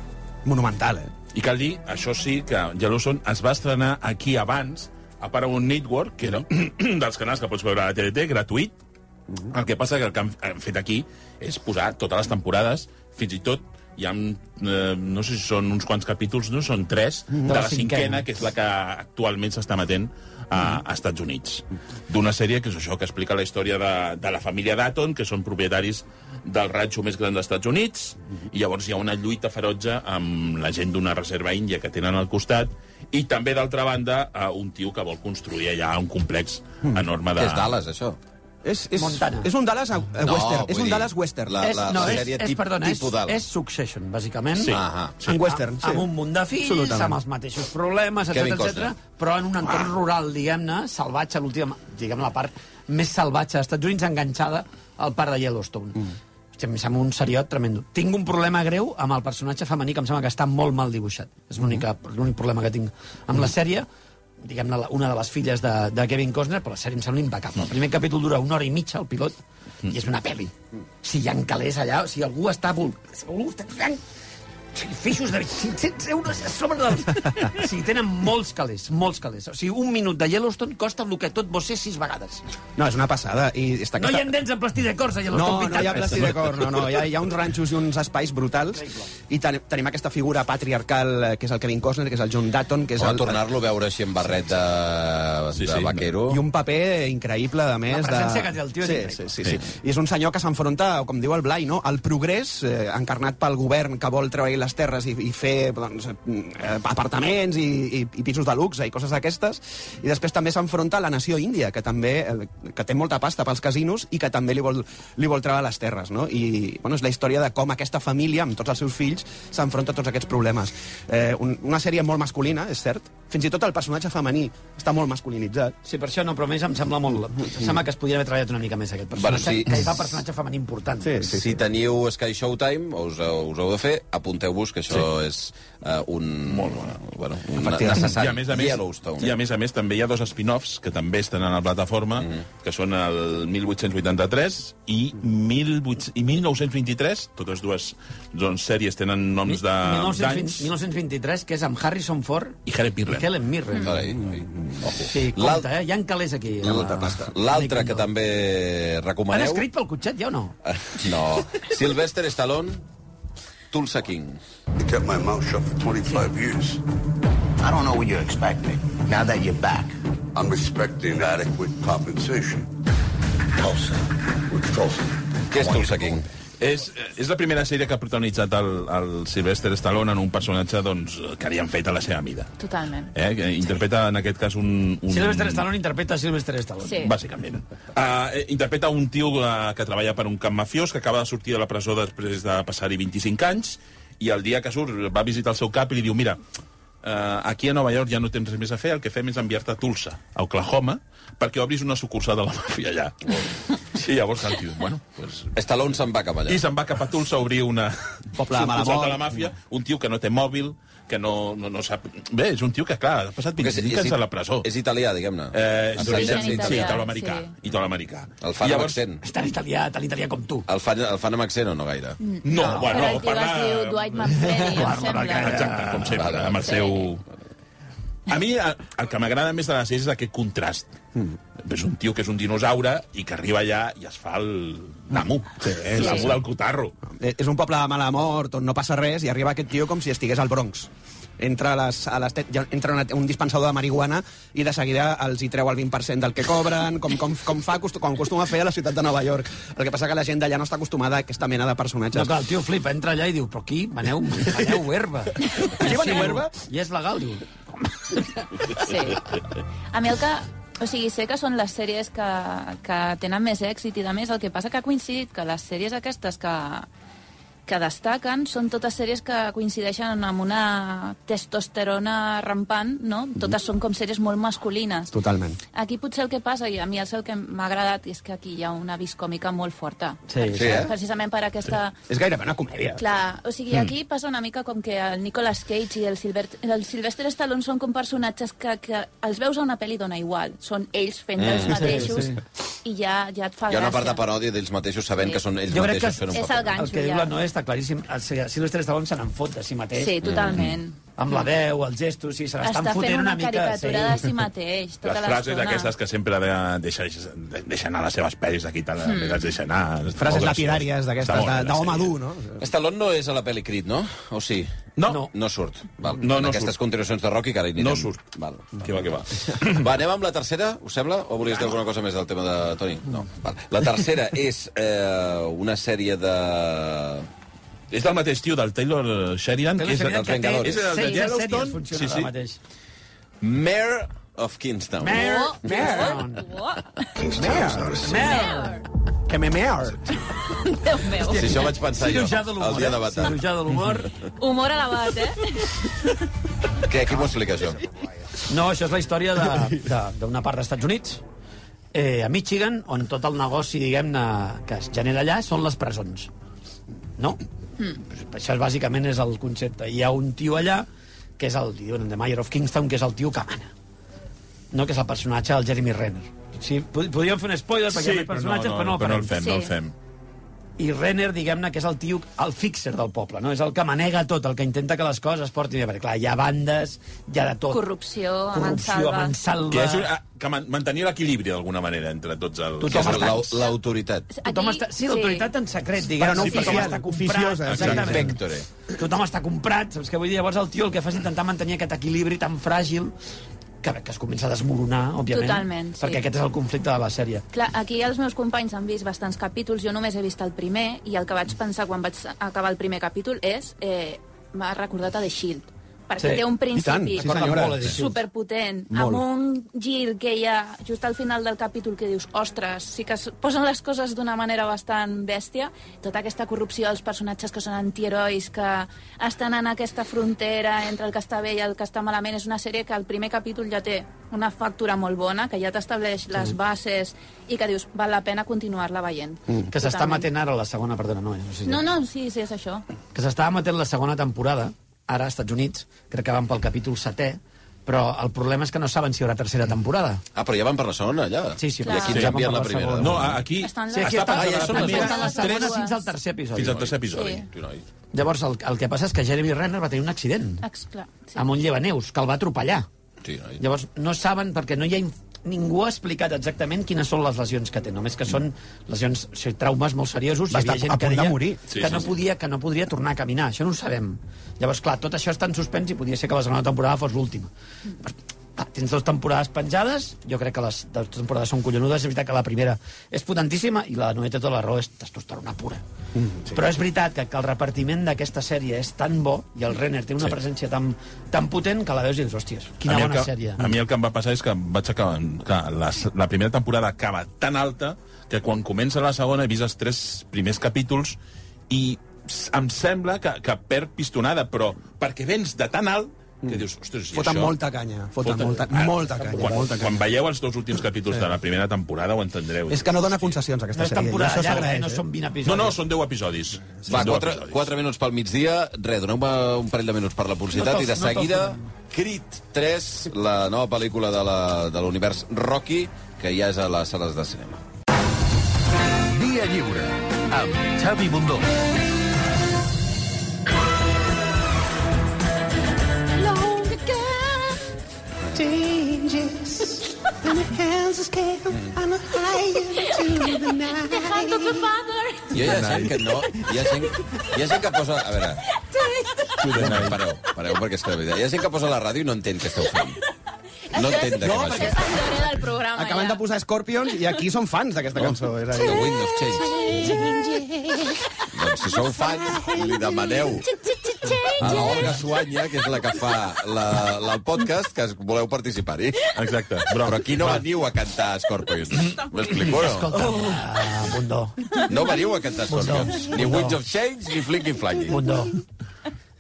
Monumental, eh?
I cal dir, això sí, que Yellowstone es va estrenar aquí abans, a Paramount Network, que era un dels canals que pots veure a la TDT, gratuït. El que passa que el que han, han fet aquí és posar totes les temporades, fins i tot hi ha, eh, no sé si són uns quants capítols, no? Són tres, Mhm. de, la, cinquena, que és la que actualment s'està emetent a,
Mhm.
a Estats Units. D'una sèrie que és això, que explica la història de, de la família Datton, que són propietaris del ranxo més gran dels Estats Units,
Mhm.
i llavors hi ha una lluita ferotge amb la gent d'una reserva índia que tenen al costat, i també, d'altra banda, eh, un tio que vol construir allà un complex enorme de...
Què Mhm. és Dallas, això?
És, és,
Montana.
és un Dallas eh, western. És
vull
un
dir,
Dallas western.
la-
és, no, és,
sèrie
és,
tip-
perdona, és,
tipus Dallas.
és Succession, bàsicament.
Sí.
Ahà.
sí.
En western, sí.
amb un munt de fills,
Absolutament. Ah.
amb els mateixos problemes,
Kevin
etc etc. però en un entorn rural, diguem-ne, salvatge, l'última, diguem la part més salvatge dels Estats Units, enganxada al parc de Yellowstone. Mm. Hòstia, em sembla un seriot tremendo. Tinc un problema greu amb el personatge femení, que em sembla que està molt mal dibuixat. És
Mm.
l'únic l'únic problema que tinc amb la sèrie, diguem-ne, la- una de les filles de, de Kevin Costner, però la sèrie em sembla impecable.
Mm.
El primer capítol dura una hora i mitja, el pilot, i és una pel·li. Si hi ha calés allà, o sigui, algú està... vol- Algú està... sacrificis de 500 euros a sobre dels... O sigui, tenen molts calés, molts calés. O sigui, un minut de Yellowstone costa el que tot vos és sis vegades.
No, és una passada. I està
No hi ha dents en plastí de corsa, Yellowstone
No, no hi ha plastí de cor, no, no. Hi ha, hi ha uns ranxos i uns espais brutals i ten tenim aquesta figura patriarcal eh, que és el Kevin Costner, que és el John Dutton, que
O
és
a
el...
tornar-lo a veure així amb barret de,
Sí,
sí,
sí.
de vaquero.
I un paper increïble, a més...
La presència que té el tio és
sí, sí,
increïble.
sí, sí, I és un senyor que s'enfronta, com diu el Blai, no? al progrés, eh, encarnat pel govern que vol treure les terres i, i fer doncs, eh, apartaments i, i, i pisos de luxe i coses d'aquestes. I després també s'enfronta a la nació índia, que també eh, que té molta pasta pels casinos i que també li vol, li vol treure les terres. No? I bueno, és la història de com aquesta família, amb tots els seus fills, s'enfronta a tots aquests problemes. Eh, un, una sèrie molt masculina, és cert. Fins i tot el personatge femení està molt masculinitzat.
Sí, per això no, però a més em sembla molt... Em sembla que es podria haver treballat una mica més aquest personatge,
Bueno, sí.
que hi fa personatge femení important.
sí, si teniu Sky Showtime, us, eh, us heu de fer, apunteu-vos que això sí. és uh, un... Molt bona. Bueno, un necessari.
I a més a més,
Yellowstone.
I a més a més també hi ha dos spin-offs que també estan a la plataforma, mm -hmm. que són el 1883 i, 1800, i 1923. Totes dues doncs, sèries tenen noms de- d'anys.
1920, 1923, que és amb Harrison Ford
I Helen Mirren.
i Helen Mirren.
Carai, ai, ojo.
Sí, compte, eh? Hi ha calés aquí. a la-
Mm, L'altre- L'altre que també
Han
recomaneu... Eh,
escrit pel cotxet, ja o no?
No. Sylvester Stallone, Tulsa King.
You kept my mouth shut for 25 years.
I don't know what you expect me. Now that you're back.
I'm expecting adequate compensation. Tulsa. What's Tulsa?
Què és Tulsa King?
És, eh, és la primera sèrie que ha protagonitzat el, el Sylvester Stallone en un personatge doncs, que li han fet a la seva mida.
Totalment.
Eh? Que interpreta, en aquest cas, un... un...
Sylvester Stallone interpreta Sylvester Stallone.
Sí.
Bàsicament. Uh, interpreta un tio uh, que treballa per un camp mafiós, que acaba de sortir de la presó després de passar-hi 25 anys, i el dia que surt va a visitar el seu cap i li diu, mira, uh, aquí a Nova York ja no tens res més a fer, el que fem és enviar-te a Tulsa, a Oklahoma, perquè obris una sucursal de la màfia allà. I llavors el tio, bueno, pues,
Stallone se'n va cap allà.
i se'n va cap a Tulsa a obrir una...
Poble de mala
sucursal
mort.
de la màfia, un tio que no té mòbil, que no, no, no sap... Bé, és un tio que, clar, ha passat
Perquè és-
25
és-
anys a la presó.
És italià, diguem-ne.
Eh, és
Ascendència
d'origen sí,
italiana,
italià.
italoamericà.
sí.
Sí. italoamericà.
El fan amb accent.
És tan italià, tan italià com tu.
El fan, el fan amb accent o no gaire?
No, no bueno,
Però el tio
parla...
es diu Dwight McFreddy, em sembla.
Exacte, com sempre,
Vale.
amb el seu... A mi eh, el que m'agrada més de la sèrie és aquest contrast. Mm. És un tio que és un dinosaure i que arriba allà i es fa el... l'amo. Sí, l'amo
sí.
del cotarro.
Eh, és un poble de mala mort on no passa res i arriba aquest tio com si estigués al Bronx entra, a les, a les, te- ja entra una, un dispensador de marihuana i de seguida els hi treu el 20% del que cobren, com, com, com, fa, acostu- com acostuma a fer a la ciutat de Nova York. El que passa que la gent d'allà no està acostumada a aquesta mena de personatges.
No, clar, el tio flipa, entra allà i diu, però aquí veneu, veneu herba. Aquí
veneu herba?
I és legal, diu.
Sí. A mi el que... O sigui, sé que són les sèries que, que tenen més èxit i de més, el que passa que ha coincidit que les sèries aquestes que, que destaquen són totes sèries que coincideixen amb una testosterona rampant, no? Totes són com sèries molt masculines.
Totalment.
Aquí potser el que passa, i a mi és el que m'ha agradat, és que aquí hi ha una vis còmica molt forta.
Sí,
Sí, eh?
Precisament per aquesta...
És gairebé una comèdia.
Clar, o sigui, aquí
Mm.
passa una mica com que el Nicolas Cage i el, Silver, el Sylvester Stallone són com personatges que, que els veus a una pel·li dona igual. Són ells fent mm. els mateixos i ja, ja et fa
Hi ha una part de
gràcia.
paròdia d'ells mateixos sabent
Sí.
que són ells
Jo crec que
mateixos fent un
és el
paper.
ganxo,
El que diu
ja.
la Noé està claríssim. El Sil- Sylvester Stallone se n'en fot de si mateix.
Sí, totalment.
Amb la veu, els gestos, sí, se
Està
n'estan
fent
Mm. fotent
una,
una mica.
caricatura de si mateix, tota
les frases
l'estona.
aquestes que sempre de, deixa, de- deixa anar les seves pel·lis aquí, tal,
Hmm.
mm. les deixa anar...
Frases lapidàries d'aquestes, de- d'home dur, no?
Stallone no és a la pel·li Creed, no? O sí?
No. No.
No surt. Val.
No, no
en aquestes
surt.
continuacions de Rocky que ara hi anirem.
No surt.
Val.
Que va, que va.
Va, anem amb la tercera, us sembla? O volies dir alguna cosa més del tema de Toni? No. Val. La tercera és eh, una sèrie de...
És del mateix tio, del Taylor eh, Sheridan, que és
Sheridan,
el
que té
És el de Yellowstone.
Sí,
Sí, sí.
sí.
Mare of Kingstown.
Mare,
Oh,
Mare,
oh, oh.
Mare.
Que me mear.
Déu meu.
Si això vaig pensar jo,
Cirurgià de
el
l'humor.
dia de
eh?
batalla. Mhm.
Cirurgià de l'humor.
Humor elevat, eh?
Què, qui m'ho explica, això?
No, això és la història de- de- d'una part dels Estats Units, eh, a Michigan, on tot el negoci, diguem-ne, que es genera allà són les presons. No? Mm. Això és, bàsicament és el concepte. Hi ha un tio allà, que és el, li diuen, The Mayor of Kingstown, que és el tio que mana. No? Que és el personatge del Jeremy Renner. Sí, pod- podríem fer un spoiler, perquè
Sí,
hi ha més
però no,
personatges,
no,
però no,
però no el
farem.
fem, no el
Sí.
fem.
i Renner, diguem-ne, que és el tio, el fixer del poble, no? És el que manega tot, el que intenta que les coses portin bé, perquè, clar, hi ha bandes, hi ha de tot.
Corrupció, a
Corrupció,
Mansalva.
Mansalva...
Que, és un, ah, que man- mantenir l'equilibri, d'alguna manera, entre tots els...
Tothom
els-
està-
l'au- L'autoritat.
Tothom
Aquí,
està... Sí,
sí.
l'autoritat en secret, diguem-ne,
Sí,
tothom
oficial,
està comprat.
oficiosa,
Exactament.
Pectore.
Tothom està comprat, saps què vull dir? Llavors el tio el que fa és intentar mantenir aquest equilibri tan fràgil que, que es comença a desmoronar, òbviament.
Totalment, sí.
Perquè aquest és el conflicte de la sèrie.
Clar, aquí els meus companys han vist bastants capítols, jo només he vist el primer, i el que vaig pensar quan vaig acabar el primer capítol és... Eh, M'ha recordat a The Shield, perquè
Sí,
té un
i
tant,
principi
sí, senyora.
Molt a The Shield.
superpotent,
Molt.
amb un gir que hi ha just al final del capítol que dius, ostres, sí que es posen les coses d'una manera bastant bèstia, tota aquesta corrupció dels personatges que són antiherois, que estan en aquesta frontera entre el que està bé i el que està malament, és una sèrie que el primer capítol ja té una factura molt bona, que ja t'estableix les bases i que dius, val la pena continuar-la veient. Mm.
Que s'està matent ara la segona, perdona, no, no, sé si-
No, no, sí, sí, és això.
que s'estava emetent la segona temporada, ara als Estats Units, crec que van pel capítol setè, però el problema és que no saben si hi haurà tercera temporada.
Ah, però ja van per la segona, allà.
Sí,
I aquí
sí,
clar.
ens
Ja
han enviat
van
la
per la
primera.
segona.
No, a- aquí...
Estan les-
Sí, aquí
Ah,
està,
ah,
la
ja són les
primera,
dues.
la segona
Tres.
fins al tercer episodi.
Fins al tercer episodi.
Sí.
Tu, noi.
Llavors, el, el que passa és que Jeremy Renner va tenir un accident
Ex, clar, sí.
amb un llevaneus, que el va atropellar.
Sí, noi.
Llavors, no saben, perquè no hi ha inf- ningú ha explicat exactament quines són les lesions que té, només que són lesions, o sigui, traumes molt seriosos.
Va
Hi havia
estar
gent
a
que
punt de
deia
morir.
que, no podia, que no podria tornar a caminar, això no ho sabem. Llavors, clar, tot això està en suspens i podia ser que la segona temporada fos l'última. Clar, tens dues temporades penjades, jo crec que les dues temporades són collonudes, és veritat que la primera és potentíssima i la novena té tota la raó, és testosterona pura. Mm, sí. Però és veritat que, que el repartiment d'aquesta sèrie és tan bo i el Renner té una sí. presència tan, tan potent que la veus i dius, hòsties, quina
a mi el
bona
que,
sèrie.
A mi el que em va passar és que vaig acabar... Clar, la, la primera temporada acaba tan alta que quan comença la segona he vist els tres primers capítols i s- em sembla que, que perd pistonada, però perquè vens de tan alt que dius, ostres, i
Mm. Foten
això...
molta canya, foten
Foten-
molta,
Ah,
molta canya,
Quan,
molta
quan
canya.
veieu els dos últims capítols de la primera temporada ho entendreu.
És que no dona concessions, aquesta
No és
sèrie. i
temporada
això
llarga, eh?
s'agraeix,
no són 20 episodis.
No, no, són 10 episodis.
Va,
Són deu
4,
episodis.
4 minuts pel migdia. Re, doneu-me un parell de minuts per la publicitat
No te'ls-
i de
no te'ls
seguida
donem.
Creed 3, la nova pel·lícula de la- de l'univers Rocky, que ja és a les sales de cinema.
Via Lliure, amb Xavi Bundó.
Dejando tu father.
Jo ja sé que no... Hi ha gent, hi ha gent que posa... A veure... No, no, pareu, pareu, perquè és que la veritat... Hi ha gent que posa la ràdio i no entén què esteu fent. No entén de què va
Això
això.
és el llorer del programa,
Acaben
ja.
de posar Scorpions i aquí són fans d'aquesta cançó. És a dir,
The Wind of Change. Doncs si sou fans, li demaneu a la Olga Suanya, que és la que fa la, la, el podcast, que es- voleu participar-hi.
Exacte.
Però, però aquí no veniu a cantar Scorpions. M'explico, no?
Escolta, uh, Bundó,
No veniu a cantar Scorpions. Ni Winds of Change, ni Flinky Flanky.
Bundó,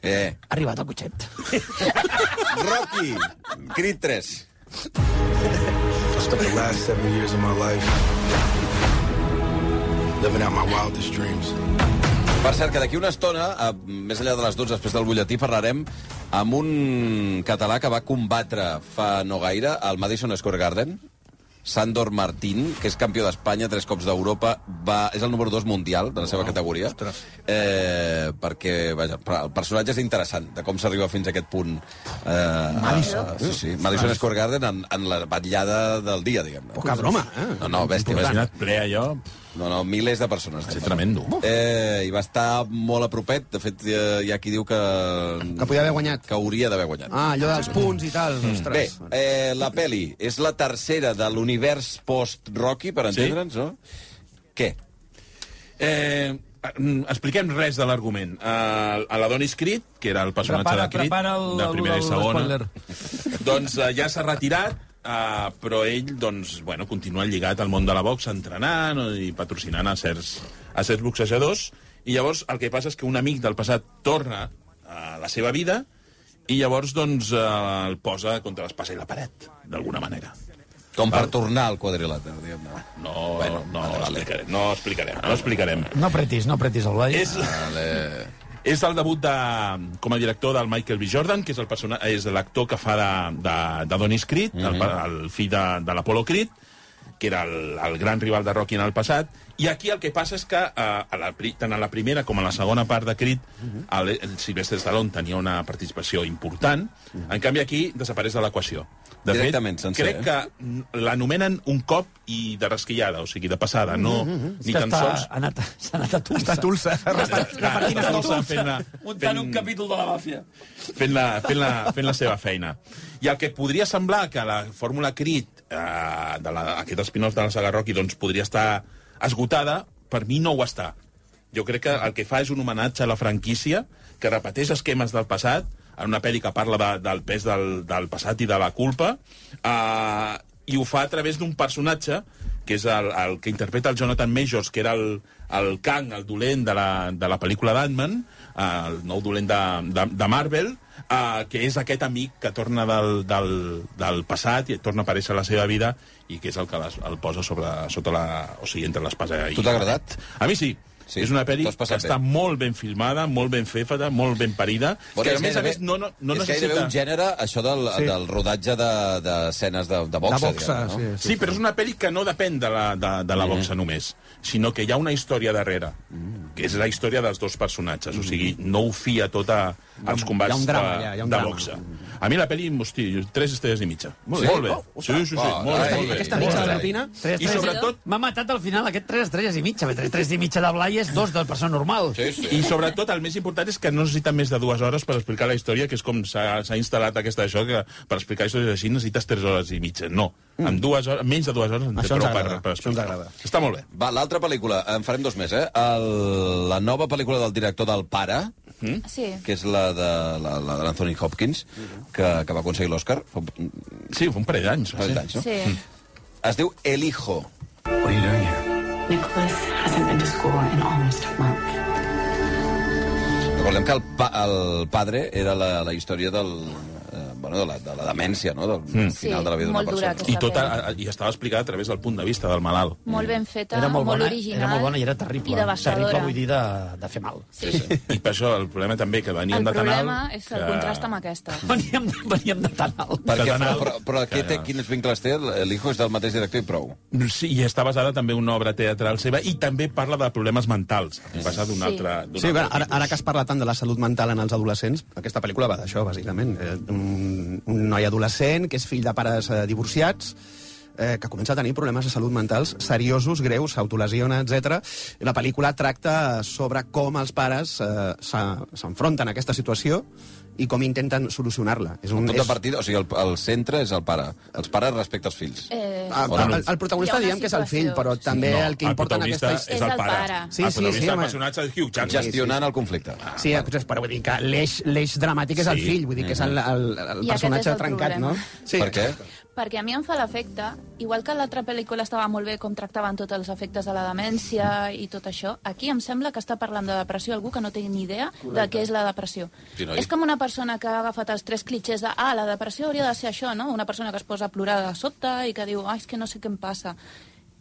Eh,
ha arribat el cotxet.
Rocky, Creed 3.
I spent the last seven years of my life living out my wildest dreams.
Per cert, que d'aquí una estona, a, més enllà de les 12, després del butlletí, parlarem amb un català que va combatre fa no gaire al Madison Square Garden, Sandor Martín, que és campió d'Espanya, tres cops d'Europa, va... és el número 2 mundial de la seva categoria. Eh, perquè, vaja, però el personatge és interessant, de com s'arriba fins a aquest punt. Eh, Madison. A, sí, sí, Madison Square Garden en, en la batllada del dia, diguem-ne.
Poca broma, eh?
No, no, bèstia. bèstia.
Imagina't ple allò...
No, no, milers de persones.
Sí, tremendo.
Eh, I va estar molt a propet. De fet, eh, hi ha qui diu que...
Que podia haver guanyat.
Que hauria d'haver guanyat.
Ah, allò dels punts i tal.
Bé,
Ostres.
eh, la peli és la tercera de l'univers post-Rocky, per
Sí.
entendre'ns, no? Què?
Eh, mm, expliquem res de l'argument. Uh, a l'Adonis Creed, que era el personatge
Prepara-
de Creed,
prepara el-
de primera
el-
i
el
segona, doncs uh, ja s'ha retirat, uh, però ell doncs, bueno, continua lligat al món de la boxa, entrenant no, i patrocinant a certs, a certs boxejadors. I llavors el que passa és que un amic del passat torna a la seva vida i llavors doncs, uh, el posa contra l'espasa i la paret, d'alguna manera.
Com
Ah.
per tornar al quadrilàter, diguem-ne.
No,
Bueno,
no,
vale, vale.
explicarem, no explicarem, no explicarem.
No pretis, no pretis el ball.
És... És el debut de, com a director del Michael B. Jordan, que és el persona,
Mhm.
és l'actor que fa de, de, de Donis Creed, mm -hmm. el, pa- el fill de, de l'Apollo Creed, que era el, el gran rival de Rocky en el passat, i aquí el que passa és que eh, a la, pri- tant a la primera com a la segona part de Creed
Mhm.
el, el Sylvester Stallone tenia una participació important,
Mhm.
en canvi aquí desapareix de l'equació. De
Directament, sencer,
crec
eh?
que mm, l'anomenen un cop i de rasquillada, o sigui, de passada, no,
Mhm. És
ni
que
tan
està-
sols...
Ha anat, s'ha anat a Tulsa.
Està a Tulsa.
Repartint estolsa.
Muntant un capítol de la màfia.
fent la, fent la, fent la seva feina. I el que podria semblar que la fórmula Creed, eh, de la, aquest spin-off de la saga Rocky, doncs podria estar esgotada, per mi no ho està. Jo crec que el que fa és un homenatge a la franquícia, que repeteix esquemes del passat, en una pel·li que parla de, del pes del, del passat i de la culpa, eh, i ho fa a través d'un personatge que és el, el que interpreta el Jonathan Majors, que era el, el Kang, el dolent de la, de la pel·lícula d'Ant-Man, eh, el nou dolent de, de, de Marvel, eh, que és aquest amic que torna del, del, del passat i torna a aparèixer a la seva vida i que és el que les, el posa sobre, sota la, o sigui, entre l'espasa i...
Tu t'ha agradat?
A mi sí.
Sí,
Sí, és una pel·li
t'ho
que
has passat
està
bé.
molt ben filmada, molt ben feta, molt ben parida,
Bueno,
que
és
a més a
gairebé-
més no, no, no
és
necessita...
gairebé un gènere, això del,
Sí.
sí. del rodatge de- d'escenes de, de, de boxa. diguem, no?
sí, però és una pel·li que no depèn de la, de, de
Mhm.
la boxa només, sinó que hi ha una història darrere,
Mm.
que és la història dels dos personatges, o sigui, no ho fia tot a, als combats
Mhm. hi ha un drama,
de,
hi ha- hi ha un
de
drama. Mhm.
boxa. A mi la pel·li, hosti, jo- tres estrelles i mitja.
Molt bé.
Molt bé.
Oh, ostres.
Sí, sí, sí,
Oh,
molt bé,
aquesta-
molt bé.
aquesta
Molt
mitja
bé.
argentina,
Tres,
I
tres,
sobretot...
M'ha matat al final aquest 3 estrelles i mitja. 3 estrelles i mitja de Blai és dos de persona normal.
I sobretot el més important és que no necessita més de dues hores per explicar la història, que és com s'ha s'ha instal·lat aquesta això, que per explicar històries així necessites tres hores i mitja. No, mm. amb dues hores, menys de dues hores en té
Això ens
prou per,
agrada,
per
això ens
explicar.
agrada.
Està molt bé.
Va, l'altra pel·lícula, en farem dos més, eh? El, la nova pel·lícula del director del pare, mm?
Sí.
que és la de la, la de l'Anthony Hopkins, que, que va aconseguir l'Oscar.
Sí, fa un parell d'anys.
Sí. No?
Sí.
Es diu El Hijo.
Nicholas hasn't been to school in almost a month.
Recordem que el, pa, el padre era la, la història del, eh, bueno, de, la, de la demència, no? del mm. final de la vida d'una
molt
persona.
dura aquesta
I, tot a,
pel·li.
a, I estava explicada a través del punt de vista del malalt.
Molt ben feta,
Era molt bona,
original.
era molt bona i era
terrible. I
Terrible,
devastadora.
vull dir, de, de fer mal.
Sí.
I per això el problema també que veníem
El
de tan
problema
alt...
és el contrast amb aquesta.
Veníem, veníem de tan alt.
Perquè,
Tan alt
però, però
que-
aquí té, quins vincles té? L'Hijo és del mateix director i prou.
Sí, i està basada també en una obra teatral seva i també parla de problemes mentals. Basada d'un
Sí.
altre... d'un
Sí,
altre
ara, ara, ara que has parlat tant de la salut mental en els adolescents, aquesta pel·lícula va d'això, bàsicament. Eh, un, un noi adolescent que és fill de pares eh, divorciats, eh, que comença a tenir problemes de salut mentals seriosos, greus, s'autolesiona, etc. La pel·lícula tracta sobre com els pares eh, s'ha- s'enfronten a aquesta situació i com intenten solucionar-la. És
Un
un,
punt de
és,
partida, o sigui, el, el centre és el pare. Els pares respecte als fills.
Eh,
Ah,
O no?
el, el protagonista diguem que és el fill, però també
No,
el que importa en aquesta història... Sí,
el
sí, sí,
protagonista el
home.
personatge és Hugh Jackman.
Gestionant el conflicte. Ah,
Sí, eh, vale. però vull dir que l'eix l'eix dramàtic és el
Sí.
fill, vull dir que és el, el, el
I aquest és
personatge
el
trencat,
problema.
no? Sí. Per
què?
Perquè a mi em fa l'efecte, igual que l'altra pel·lícula estava molt bé com tractaven tots els efectes de la demència i tot això, aquí em sembla que està parlant de depressió algú que no té ni idea de què és la depressió.
Sí, noi.
és com una persona que ha agafat els tres clitxers de ah, la depressió hauria de ser això, no? Una persona que es posa a plorar de sobte i que diu ah, és que no sé què em passa.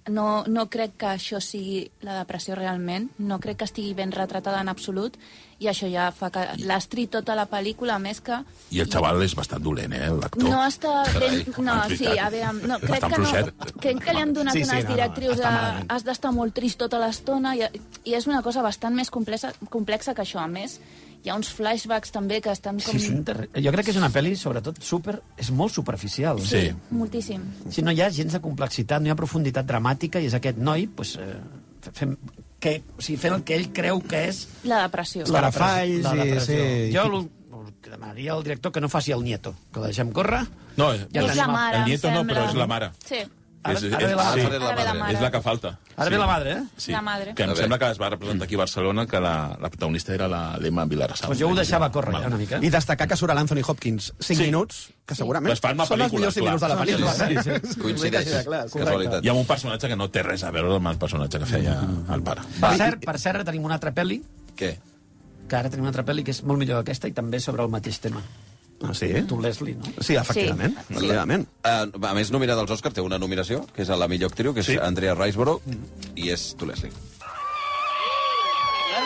No, no crec que això sigui la depressió realment, no crec que estigui ben retratada en absolut, i això ja fa que l'astri tota la pel·lícula, a més que
I el xaval és bastant dolent, eh, l'actor.
No està ben...
Carai,
No,
en
sí,
veritat.
a veure... No, crec
Bastant
que, no,
fluixet.
crec que li han donat sí,
Sí, sí,
unes
no, no,
directrius
està
de...
malament.
Has d'estar molt trist tota l'estona i, i és una cosa bastant més complexa, complexa que això. A més, hi ha uns flashbacks també que estan com...
Sí, és un terri- jo crec que és una pel·li, sobretot, super, és molt superficial.
Sí, moltíssim.
Si no hi ha gens de complexitat, no hi ha profunditat dramàtica, i és aquest noi, doncs, eh, fent, que, o sigui, fent el que ell creu que és...
La depressió.
Escarafalls
La depressió.
i-
sí.
Jo el, el que demanaria al director que no faci el nieto, que la deixem córrer.
No,
Ja
és la mare,
el nieto
em
no,
sembla.
però és la mare.
Sí.
Ara-
és,
ara ve la-
sí,
ara ve la Ara ve la mare.
és la que falta.
Ara ve la madre, eh?
Sí.
La madre.
Que
A
em
veure.
sembla que es va representar aquí a Barcelona, que la, la protagonista era la l'Emma Vilarasal.
Doncs jo ho deixava córrer, ja, una mica.
I destacar que surt l'Anthony Hopkins 5 sí. minuts, que segurament
Les fan la
són els
pel·lícula,
millors 5 minuts de la pel·lícula. eh?
Coincideix. Hi ha un personatge que no té res a veure amb el personatge que feia
Mm-hmm.
el pare.
Per cert, per cert, ara tenim una altra pel·li,
Què?
que ara tenim una altra pel·li que és molt millor que aquesta i també sobre el mateix tema.
Ah, sí?
Tu, Leslie, no?
Sí, efectivament.
Sí. Efectivament.
Eh,
Uh, a més, nominada als Oscars, té una nominació, que és a la millor actriu, que és sí. Andrea Riseborough,
Mhm.
i és Tu Leslie.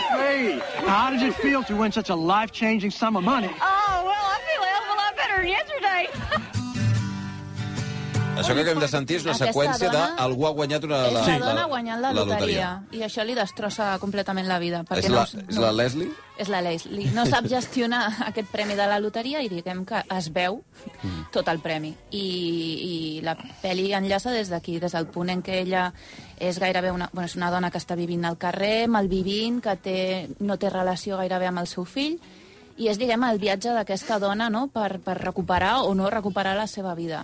Leslie, how does it feel to win such a life-changing sum of money?
Oh, well, I feel a hell of a lot better than yesterday.
Això que acabem de sentir és una
Aquesta
seqüència
dona-
de algú ha guanyat una...
És la
la-
dona guanyant la,
la
loteria. I això li destrossa completament la vida. Perquè
És
no,
la, és la Leslie?
és la Leslie. No sap gestionar aquest premi de la loteria i diguem que es veu tot el premi. I, i la pel·li enllaça des d'aquí, des del punt en què ella és gairebé una, bueno, és una dona que està vivint al carrer, malvivint, que té, no té relació gairebé amb el seu fill, i és, diguem, el viatge d'aquesta dona no? per, per recuperar o no recuperar la seva vida.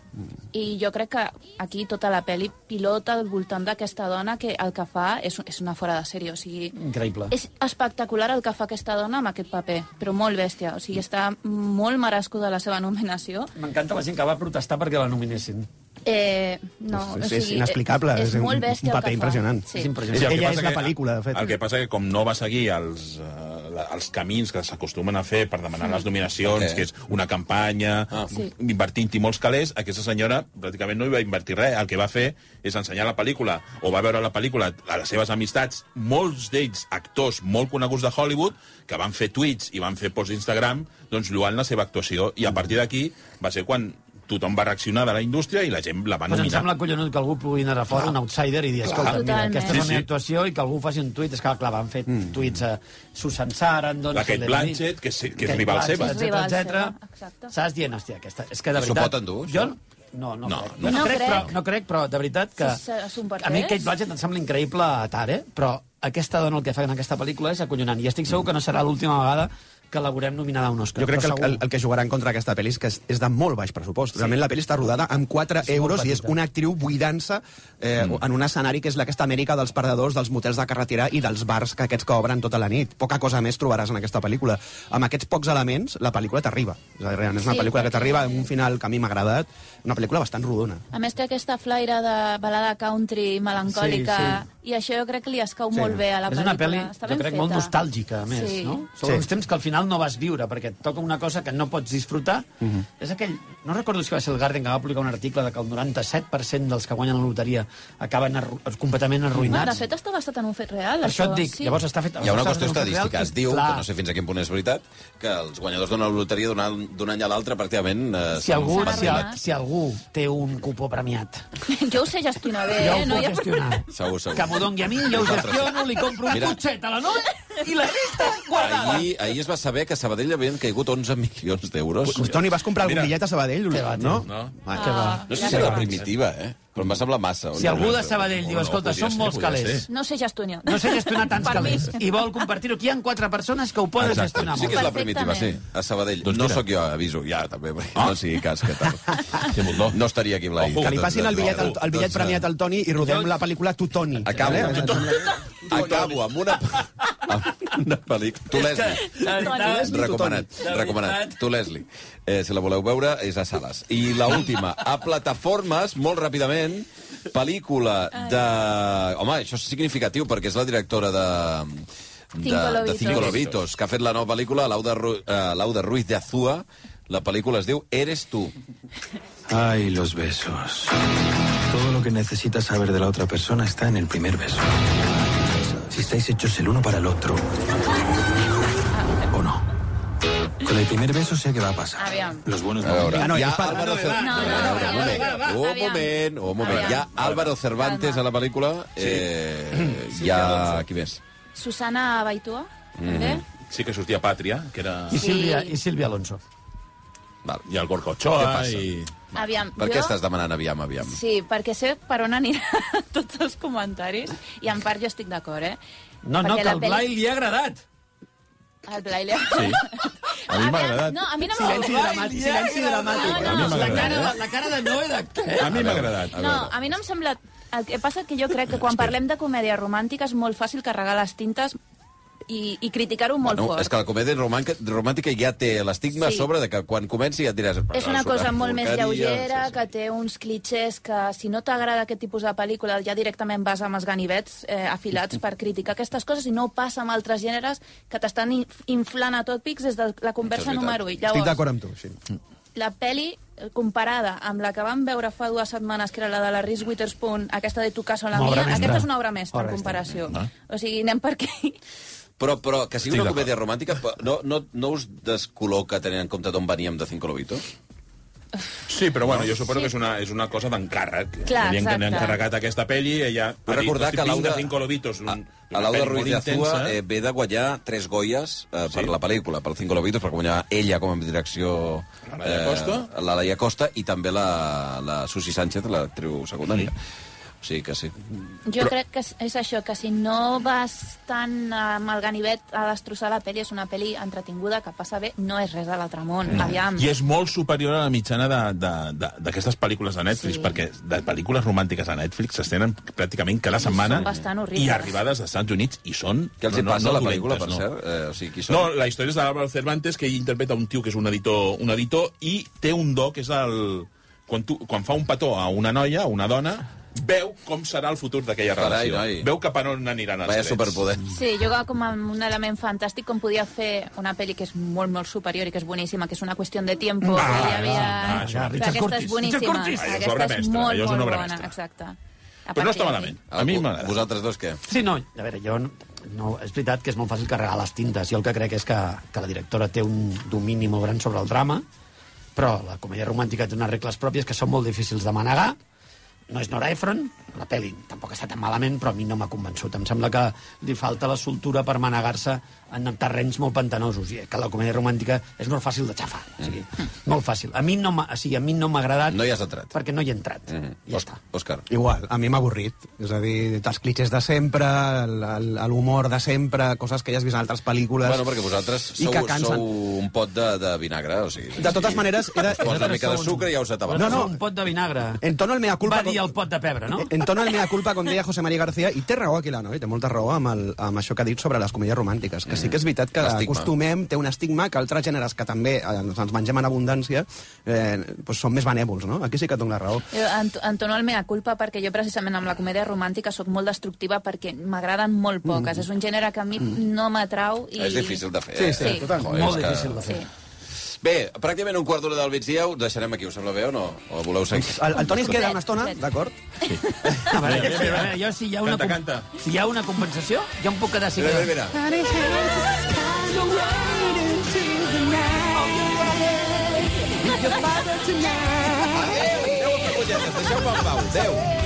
I jo crec que aquí tota la pel·li pilota al voltant d'aquesta dona que el que fa és, és una fora de sèrie, o sigui...
Increïble.
És espectacular el que fa aquesta dona amb aquest paper, però molt bèstia. O sigui, està molt merescuda la seva nominació.
M'encanta la gent que va protestar perquè la nominessin.
Eh, no,
És-
o
és
sigui,
inexplicable,
És,
és un-
molt bèstia
un
el
paper
que fa.
impressionant.
Sí.
És impressionant.
el que
Ella
passa
és la pel·lícula, de fet.
El que passa que com no va seguir els, eh, la- els camins que s'acostumen a fer per demanar les nominacions,
Ok.
que és una campanya, ah,
Sí.
invertint-hi molts calés, aquesta senyora pràcticament no hi va invertir res. El que va fer és ensenyar la pel·lícula, o va veure la pel·lícula a les seves amistats, molts d'ells actors molt coneguts de Hollywood, que van fer tuits i van fer posts d'Instagram, doncs lluant la seva actuació. I a partir d'aquí va ser quan tothom va reaccionar de la indústria i la gent la va
Pues em
nominar.
sembla collonut que algú pugui anar a fora, un outsider, i dir, escolta, mira,
Totalment.
aquesta és la
Sí,
meva
sí.
actuació, i que algú faci un tuit. És que, clar, van fer mm. tuits doncs, a Susan Sarandon...
La Kate
Helen
Blanchett,
Mirren,
que és- que és
Kate
rival
Blanchett,
seva.
Rival
etcètera,
seva,
etcètera.
exacte.
Saps dient, hòstia, aquesta... És que, de
I s'ho
veritat...
poden dur,
Jo,
això?
no, no,
No,
crec,
no.
no,
No
crec,
crec.
però, no crec, però de veritat que...
Sí, se- s'ho
a mi
parteix.
Kate Blanchett em sembla increïble a Tar, eh? però aquesta dona el que fa en aquesta pel·lícula és acollonant. I estic segur que no serà l'última vegada que la veurem nominada a un Òscar.
Jo crec que
però
el, el, el que jugaran contra aquesta pel·li és que és, és de molt baix pressupost. Realment la pel·li està rodada amb 4
És molt
euros i és
petita.
una actriu buidant-se eh, mm. en un escenari que és aquesta Amèrica dels perdedors, dels motels de carretera i dels bars que aquests que obren tota la nit. Poca cosa més trobaràs en aquesta pel·lícula. Amb aquests pocs elements, la pel·lícula t'arriba. És, a dir, realment és una
Sí,
pel·lícula que
perquè-
t'arriba amb un final que a mi m'ha agradat. Una pel·lícula bastant rodona.
A més té aquesta flaire de balada country melancòlica, sí, sí. i això jo crec que li escau
Sí.
sí. molt bé a la
és
pel·lícula.
una pel·li,
Està
jo
ben
crec,
feta.
molt nostàlgica, a més,
sí.
no?
Sí.
Sobre sí. uns temps que al final no vas viure, perquè et toca una cosa que no pots disfrutar. Mm
Mhm.
-hmm. És aquell... No recordo si va ser el Garden que va publicar un article de que el 97% dels que guanyen la loteria acaben arru completament
No, de
arruïnats.
fet, està basat en un fet real,
Per
això.
això et dic,
sí.
llavors està fet...
Hi ha una
està
qüestió
fet en un
estadística.
real,
Es diu,
clar,
que no sé fins a quin punt és veritat, que els guanyadors d'una loteria d'un any- d'un any a l'altre pràcticament... Eh,
Si algú,
s'han-
si,
arruïnat.
si algú té un cupó premiat,
Jo ho sé gestionar bé,
jo
eh?
ho
No
puc
hi ha
gestionar.
Segur, segur.
Que m'ho doni a mi, jo ho
Nosaltres sí.
gestiono, li compro un
Mira.
cotxet a la Not i la resta guardada.
Ahir, ahir es va saber que a Sabadell havien caigut 11 milions d'euros.
Toni, vas comprar algun
Mira.
bitllet a Sabadell?
va, tio.
no? Ah,
No.
Va.
Que va.
No sé si era primitiva, eh? Però em va semblar massa.
Si algú de Sabadell diu,
No, no,
escolta,
podria
són
ser,
molts
podria
calés,
ser.
No sé gestionar.
no sé gestionar tants
Per mi.
calés i vol compartir-ho. Aquí hi ha quatre persones que ho poden
Exacte.
gestionar
Sí que és la
Perfectament.
primitiva, sí. A Sabadell.
Doncs
no
mira.
sóc jo, aviso, ja, també, perquè
Ah.
no sigui cas que tal.
Sí, Moldó.
No estaria aquí amb la
Ojo,
Illa.
Que li passin el bitllet, al- el bitllet
Doncs, eh,
premiat al Toni i rodem la pel·lícula Tu, Toni.
Acabo.
Vale?
Acabo amb una... amb una pel·lícula. Tu, Leslie. Recomanat,
veritat.
recomanat. Tu, Leslie, eh, si la voleu veure, és a sales. I la última, a plataformes, molt ràpidament, pel·lícula de... Home, això és significatiu, perquè és la directora de... De,
Cinco
de
Lobitos.
Cinco Lobitos, que ha fet la nova pel·lícula, Lauda, Ru, eh, Lauda Ruiz de Azúa. La pel·lícula es diu Eres tu.
Ay, los besos. Todo lo que necesitas saber de la otra persona está en el primer beso. Si estáis hechos el uno para el otro. ¿O no? Con el primer beso sé que va a pasar.
Aviam.
Los buenos
A veure,
Ah, no,
hi ha
és per-
Álvaro Cer-
no, no,
A veure,
no,
un
no,
moment,
no, no, no,
un
aviam.
moment, un moment.
Aviam.
Hi ha Álvaro Cervantes
Calma.
a la pel·lícula. Eh, hi ha... Qui més?
Susana Baitua, també.
Sí que sortia Pàtria, que era...
Mhm. I Sílvia,
Sí.
i Sílvia Alonso.
Val.
I el
Què
Gorka Ochoa,
passa?
i...
Aviam,
eh, Per
jo...
què estàs demanant aviam, aviam?
Sí, perquè sé per on aniran tots els comentaris, i en part jo estic d'acord, eh?
No, no,
Perquè
que
la
al
pel·li-
Blai li ha agradat.
El Blai li ha...
Sí. A mi m'ha
Aviam,
agradat.
No, a mi no m'ha
Silenci
agradat.
dramàtic.
No,
Silenci
No,
dramàtic.
no,
A mi
la,
m'agrada,
cara,
eh?
de- la cara de Noé de què?
A mi m'ha agradat.
A
No,
veure.
a mi no em sembla... El que passa que jo crec que quan
Espera.
parlem de comèdia romàntica és molt fàcil carregar les tintes i, i criticar-ho molt
Bueno,
fort.
és que la comèdia romàntica, romàntica ja té l'estigma sí.
Sí.
a sobre de que quan comenci ja et diràs...
És una
"Ah,
cosa molt més
porqueria".
lleugera,
Sí, sí.
que té uns clitxers que, si no t'agrada aquest tipus de pel·lícula, ja directament vas amb els ganivets eh, afilats per criticar aquestes coses i no passa amb altres gèneres que t'estan in- inflant a tot pics des de la
Això
conversa
és veritat.
número 1.
Estic
Llavors,
d'acord amb tu, sí.
la pel·li eh, comparada amb la que vam veure fa dues setmanes, que era la de la Reese Witherspoon, aquesta de Tu casa o la
Una obra
mia,
mestra.
aquesta és una obra mestra
Obra
en
mestra.
comparació.
Ah.
O sigui, anem per aquí.
Però, però que sigui
Estic
una
d'acord.
comèdia romàntica, però no, no, no us descol·loca tenint en compte d'on veníem de Cinco Lobitos?
Sí, però bueno, jo suposo sí. que és una, és una cosa d'encàrrec.
Clar,
Li han-
exacte.
Li han encarregat aquesta pel·li, ella...
A recordar que l'Auda...
Pinta cinco lobitos, un,
a
Mm, una
l'Auda
pel·li
Ruiz
molt
de Azúa
intensa.
eh, ve de guanyar tres goies eh, per la pel·lícula, per Cinco Lobitos, per guanyar ella com a direcció... La
Laia Costa.
La Laia Costa i també la, la Susi Sánchez, l'actriu secundària.
Mm.
O sigui que sí.
Jo Però... crec que és- és això, que si no vas tan eh, amb el ganivet a destrossar la pel·li, és una pel·li entretinguda, que passa bé, no és res de l'altre món, no. aviam.
Mm. I és molt superior a la mitjana de- de- de- d'aquestes pel·lícules de Netflix,
Sí.
sí. perquè de pel·lícules romàntiques a Netflix s'estenen pràcticament cada setmana
són bastant
i
horribles.
arribades als Estats Units i són...
Què els hi passa a la pel·lícula, per
dolentes,
cert? Eh, o sigui, qui són?
No, la història és de l'Àlvaro Cervantes, que ell interpreta un tio que és un editor, un editor i té un do que és el... Quan, tu, quan fa un petó a una noia, a una dona, veu com serà el futur d'aquella
Carai,
relació.
noi.
Veu cap a on aniran els
Vaya
trets.
superpoder.
Sí, jo com amb un element fantàstic com podia fer una pel·li que és molt, molt superior i que és boníssima, que és una qüestió de tiempo.
Ah,
que hi havia...
ah, ah, això,
Però
Richard
aquesta
Curtis,
és boníssima.
Richard Curtis. Allò és
Aquesta
obra
és
mestra,
molt,
allò és una
molt
obra
bona.
mestra.
Exacte. A
Però no
partir
està
d'aquí.
malament. A mi m'agrada.
Vosaltres dos què?
Sí, no, a veure, jo... No, no, és veritat que és molt fàcil carregar les tintes. Jo el que crec és que, que la directora té un domini molt gran sobre el drama, però la comèdia romàntica té unes regles pròpies que són molt difícils de manegar. No és Nora Ephron, la pel·li tampoc està tan malament, però a mi no m'ha convençut. Em sembla que li falta la soltura per manegar-se en terrenys molt pantanosos, i que la comèdia romàntica és molt fàcil de xafar. O sigui, molt fàcil. A mi no m'ha o sigui, a mi no m'ha agradat...
Mm. No hi Mm-hmm. has entrat.
Perquè no hi he entrat. Mm -hmm. Ja està.
Òscar.
Igual, a mi m'ha avorrit. És a dir, els clichés de sempre, el- el- l'humor de sempre, coses que ja has vist en altres pel·lícules...
Bueno, perquè vosaltres
I
sou,
que cansen.
sou un pot de, de vinagre, o sigui...
De totes maneres, he de-
Us posa una mica de sucre i ja us atabans.
No, no.
Un pot de vinagre.
Entono el mea culpa...
Va dir el pot de pebre, no?
Eh,
Entono el mea culpa, com deia José María García, i té raó aquí la noia, té molta raó amb, el, amb això que ha dit sobre les comèdies romàntiques, que sí que és veritat que
L'estigma.
acostumem, té un estigma que altres gèneres que també eh, ens ens mengem en abundància eh, doncs són més benèvols, no? Aquí sí que et dono la raó.
Jo ent- entono el mea culpa perquè jo precisament amb la comèdia romàntica sóc molt destructiva perquè m'agraden molt
Mm.
poques. És un gènere que a mi no m'atrau i...
És difícil de fer.
Sí,
eh?
sí, Sí. total.
Joder,
Molt
és
difícil de fer.
Bé, pràcticament un quart d'hora del migdia ho deixarem aquí, us sembla bé o no? O voleu seguir?
El, el Toni es queda una estona, d'acord?
A veure, a veure, a veure, Ah, jo si hi ha una...
Canta,
com- Si hi ha una compensació, jo em puc quedar si
Mira,
cal.
mira, Adéu, aneu a fer colletes, deixeu-me en pau. Adéu.